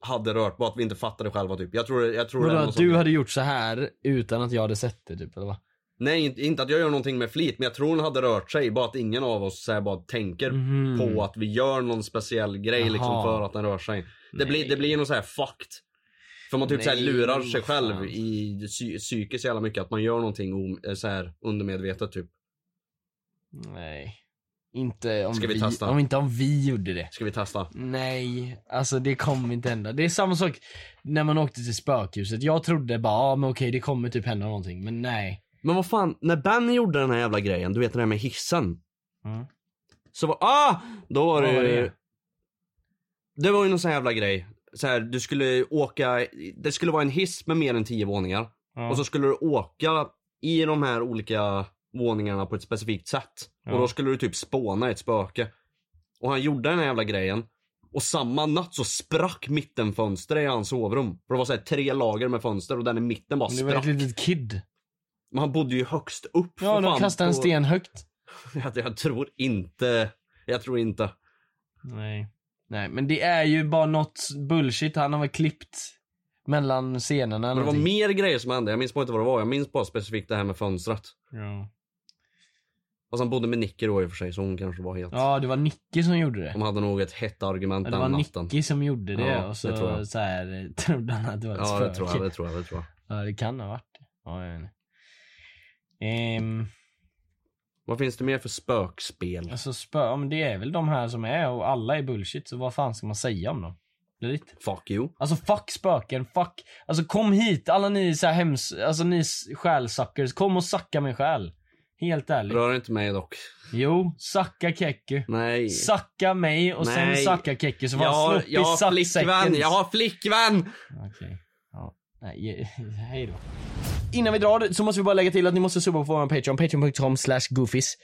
B: hade rört. Bara att vi inte fattade själva typ. Jag tror, jag tror det
A: Vadå
B: är någon
A: att
B: sån
A: du
B: grej.
A: hade gjort så här utan att jag hade sett det typ eller vad?
B: Nej, inte- inte att jag gör någonting med flit, men jag tror hon hade rört sig. Bara att ingen av oss så här, bara tänker
A: Mhm.
B: på att vi gör någon speciell grej liksom,
A: Jaha.
B: för att den rör sig. Det blir, det blir något så här fucked. För man typ så här
A: Nej,
B: lurar sig själv
A: fan.
B: i psy- psyket så jävla mycket. Att man gör någonting om- eh, så här undermedvetet typ.
A: Nej. Inte om
B: Ska vi
A: vi,
B: testa?
A: om inte om vi gjorde det.
B: Ska vi testa?
A: Nej, alltså det kommer inte hända. Det är samma sak när man åkte till spökhuset. Jag trodde bara, ah, men okej det kommer typ hända någonting, men nej.
B: Men vad fan, när Benny gjorde den här jävla grejen, du vet det där med hissen.
A: Mm.
B: Så var, ah! Då var
A: Vad
B: det
A: var
B: ju...
A: det?
B: Det var ju någon sån här jävla grej. Så här, du skulle åka, det skulle vara en hiss med mer än 10 våningar. Och så skulle du åka i de här olika våningarna på ett specifikt sätt. Och då skulle du typ spåna ett spöke. Och han gjorde den här jävla grejen. Och samma natt så sprack mittenfönstret i hans sovrum. För det var så här tre lager med fönster och den i mitten bara
A: Det var
B: sprack.
A: ett litet kid.
B: Men han bodde ju högst upp för
A: Ja, de
B: fan
A: kastade en
B: på-
A: sten högt.
B: Jag, jag tror inte, jag tror inte.
A: Nej. Nej, men det är ju bara något bullshit. Han har väl klippt mellan scenerna eller
B: Men det var
A: någonting.
B: mer grejer som hände, jag minns bara inte vad det var. Jag minns bara specifikt det här med fönstret.
A: Ja.
B: Fast han bodde med Nicky då i och för sig så hon kanske var helt...
A: ja, det var Nicky som gjorde det.
B: De hade nog ett hett argument
A: Ja, det var
B: den natten.
A: Nicky som gjorde det
B: Ja,
A: och
B: det tror
A: så,
B: jag.
A: så här, eh, trodde han att det var ett
B: Ja
A: spöke.
B: det tror jag, det tror jag, det tror jag.
A: Ja, det kan ha varit det. Ja, jag vet inte. Ehm,
B: Vad finns det mer för spökspel?
A: alltså spö, ja, men det är väl de här som är och alla är bullshit, så vad fan ska man säga om dem? Det är lite.
B: Fuck you.
A: Alltså fuck spöken, fuck. Alltså kom hit, alla ni så här hems... Alltså ni s- själsuckers, kom och sacka min själ. Helt ärligt.
B: Rör inte mig dock.
A: Jo, sacka Keku.
B: Nej.
A: Sacka mig och sen
B: Nej.
A: sacka Keku så får
B: jag,
A: han
B: har, jag
A: sloppis
B: har flickvän,
A: sacksäcken.
B: jag har flickvän!
A: Okej. Ja. Nej, hej då. Innan vi drar så måste vi bara lägga till att ni måste subba på vår Patreon, patreon.com slash goofies.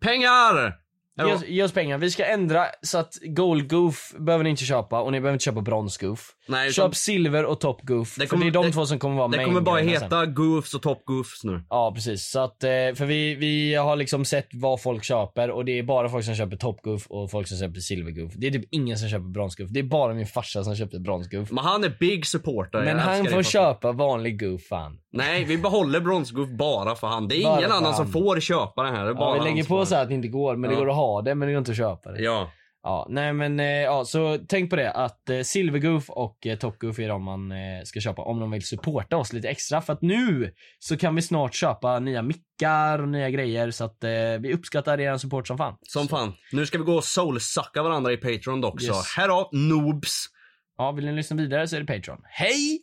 B: Pengar!
A: Ge oss, ge oss pengar. Vi ska ändra så att gold goof behöver ni inte köpa och ni behöver inte köpa brons goof.
B: Nej, utan-
A: Köp silver och top goof.
B: Det
A: för
B: kommer-
A: det är de
B: det-
A: två som kommer vara
B: Det
A: main
B: kommer bara
A: grejerna sen.
B: heta Goofs och Top Goofs nu.
A: Ja precis. Så att, eh, för vi, vi har liksom sett vad folk köper och det är bara folk som köper top goof och folk som köper silver goof. Det är typ ingen som köper brons goof. Det är bara min farsa som köpte brons goof.
B: Men han är big supporter.
A: Men
B: jag älskar
A: han
B: det,
A: får
B: fast-
A: köpa vanlig goof fan.
B: Nej, vi behåller bronsgoof bara för han. Det är
A: Bara
B: ingen
A: för
B: annan som
A: han.
B: får köpa den här. Det är bara
A: Ja, vi lägger
B: hans
A: på
B: barn.
A: så här att det inte går, men
B: Ja.
A: det går att ha det, men det går inte att köpa det.
B: Ja.
A: Ja, nej men eh, ja, så tänk på det att eh, Silvergoof och eh, Topgoof är de man eh, ska köpa om de vill supporta oss lite extra. För att nu så kan vi snart köpa nya mickar och nya grejer så att eh, vi uppskattar er support som fan.
B: Som fan. Nu ska vi gå och soulsucka varandra i Patreon dock så.
A: Yes.
B: Här då, noobs!
A: Ja, vill ni lyssna vidare så är det Patreon. Hej!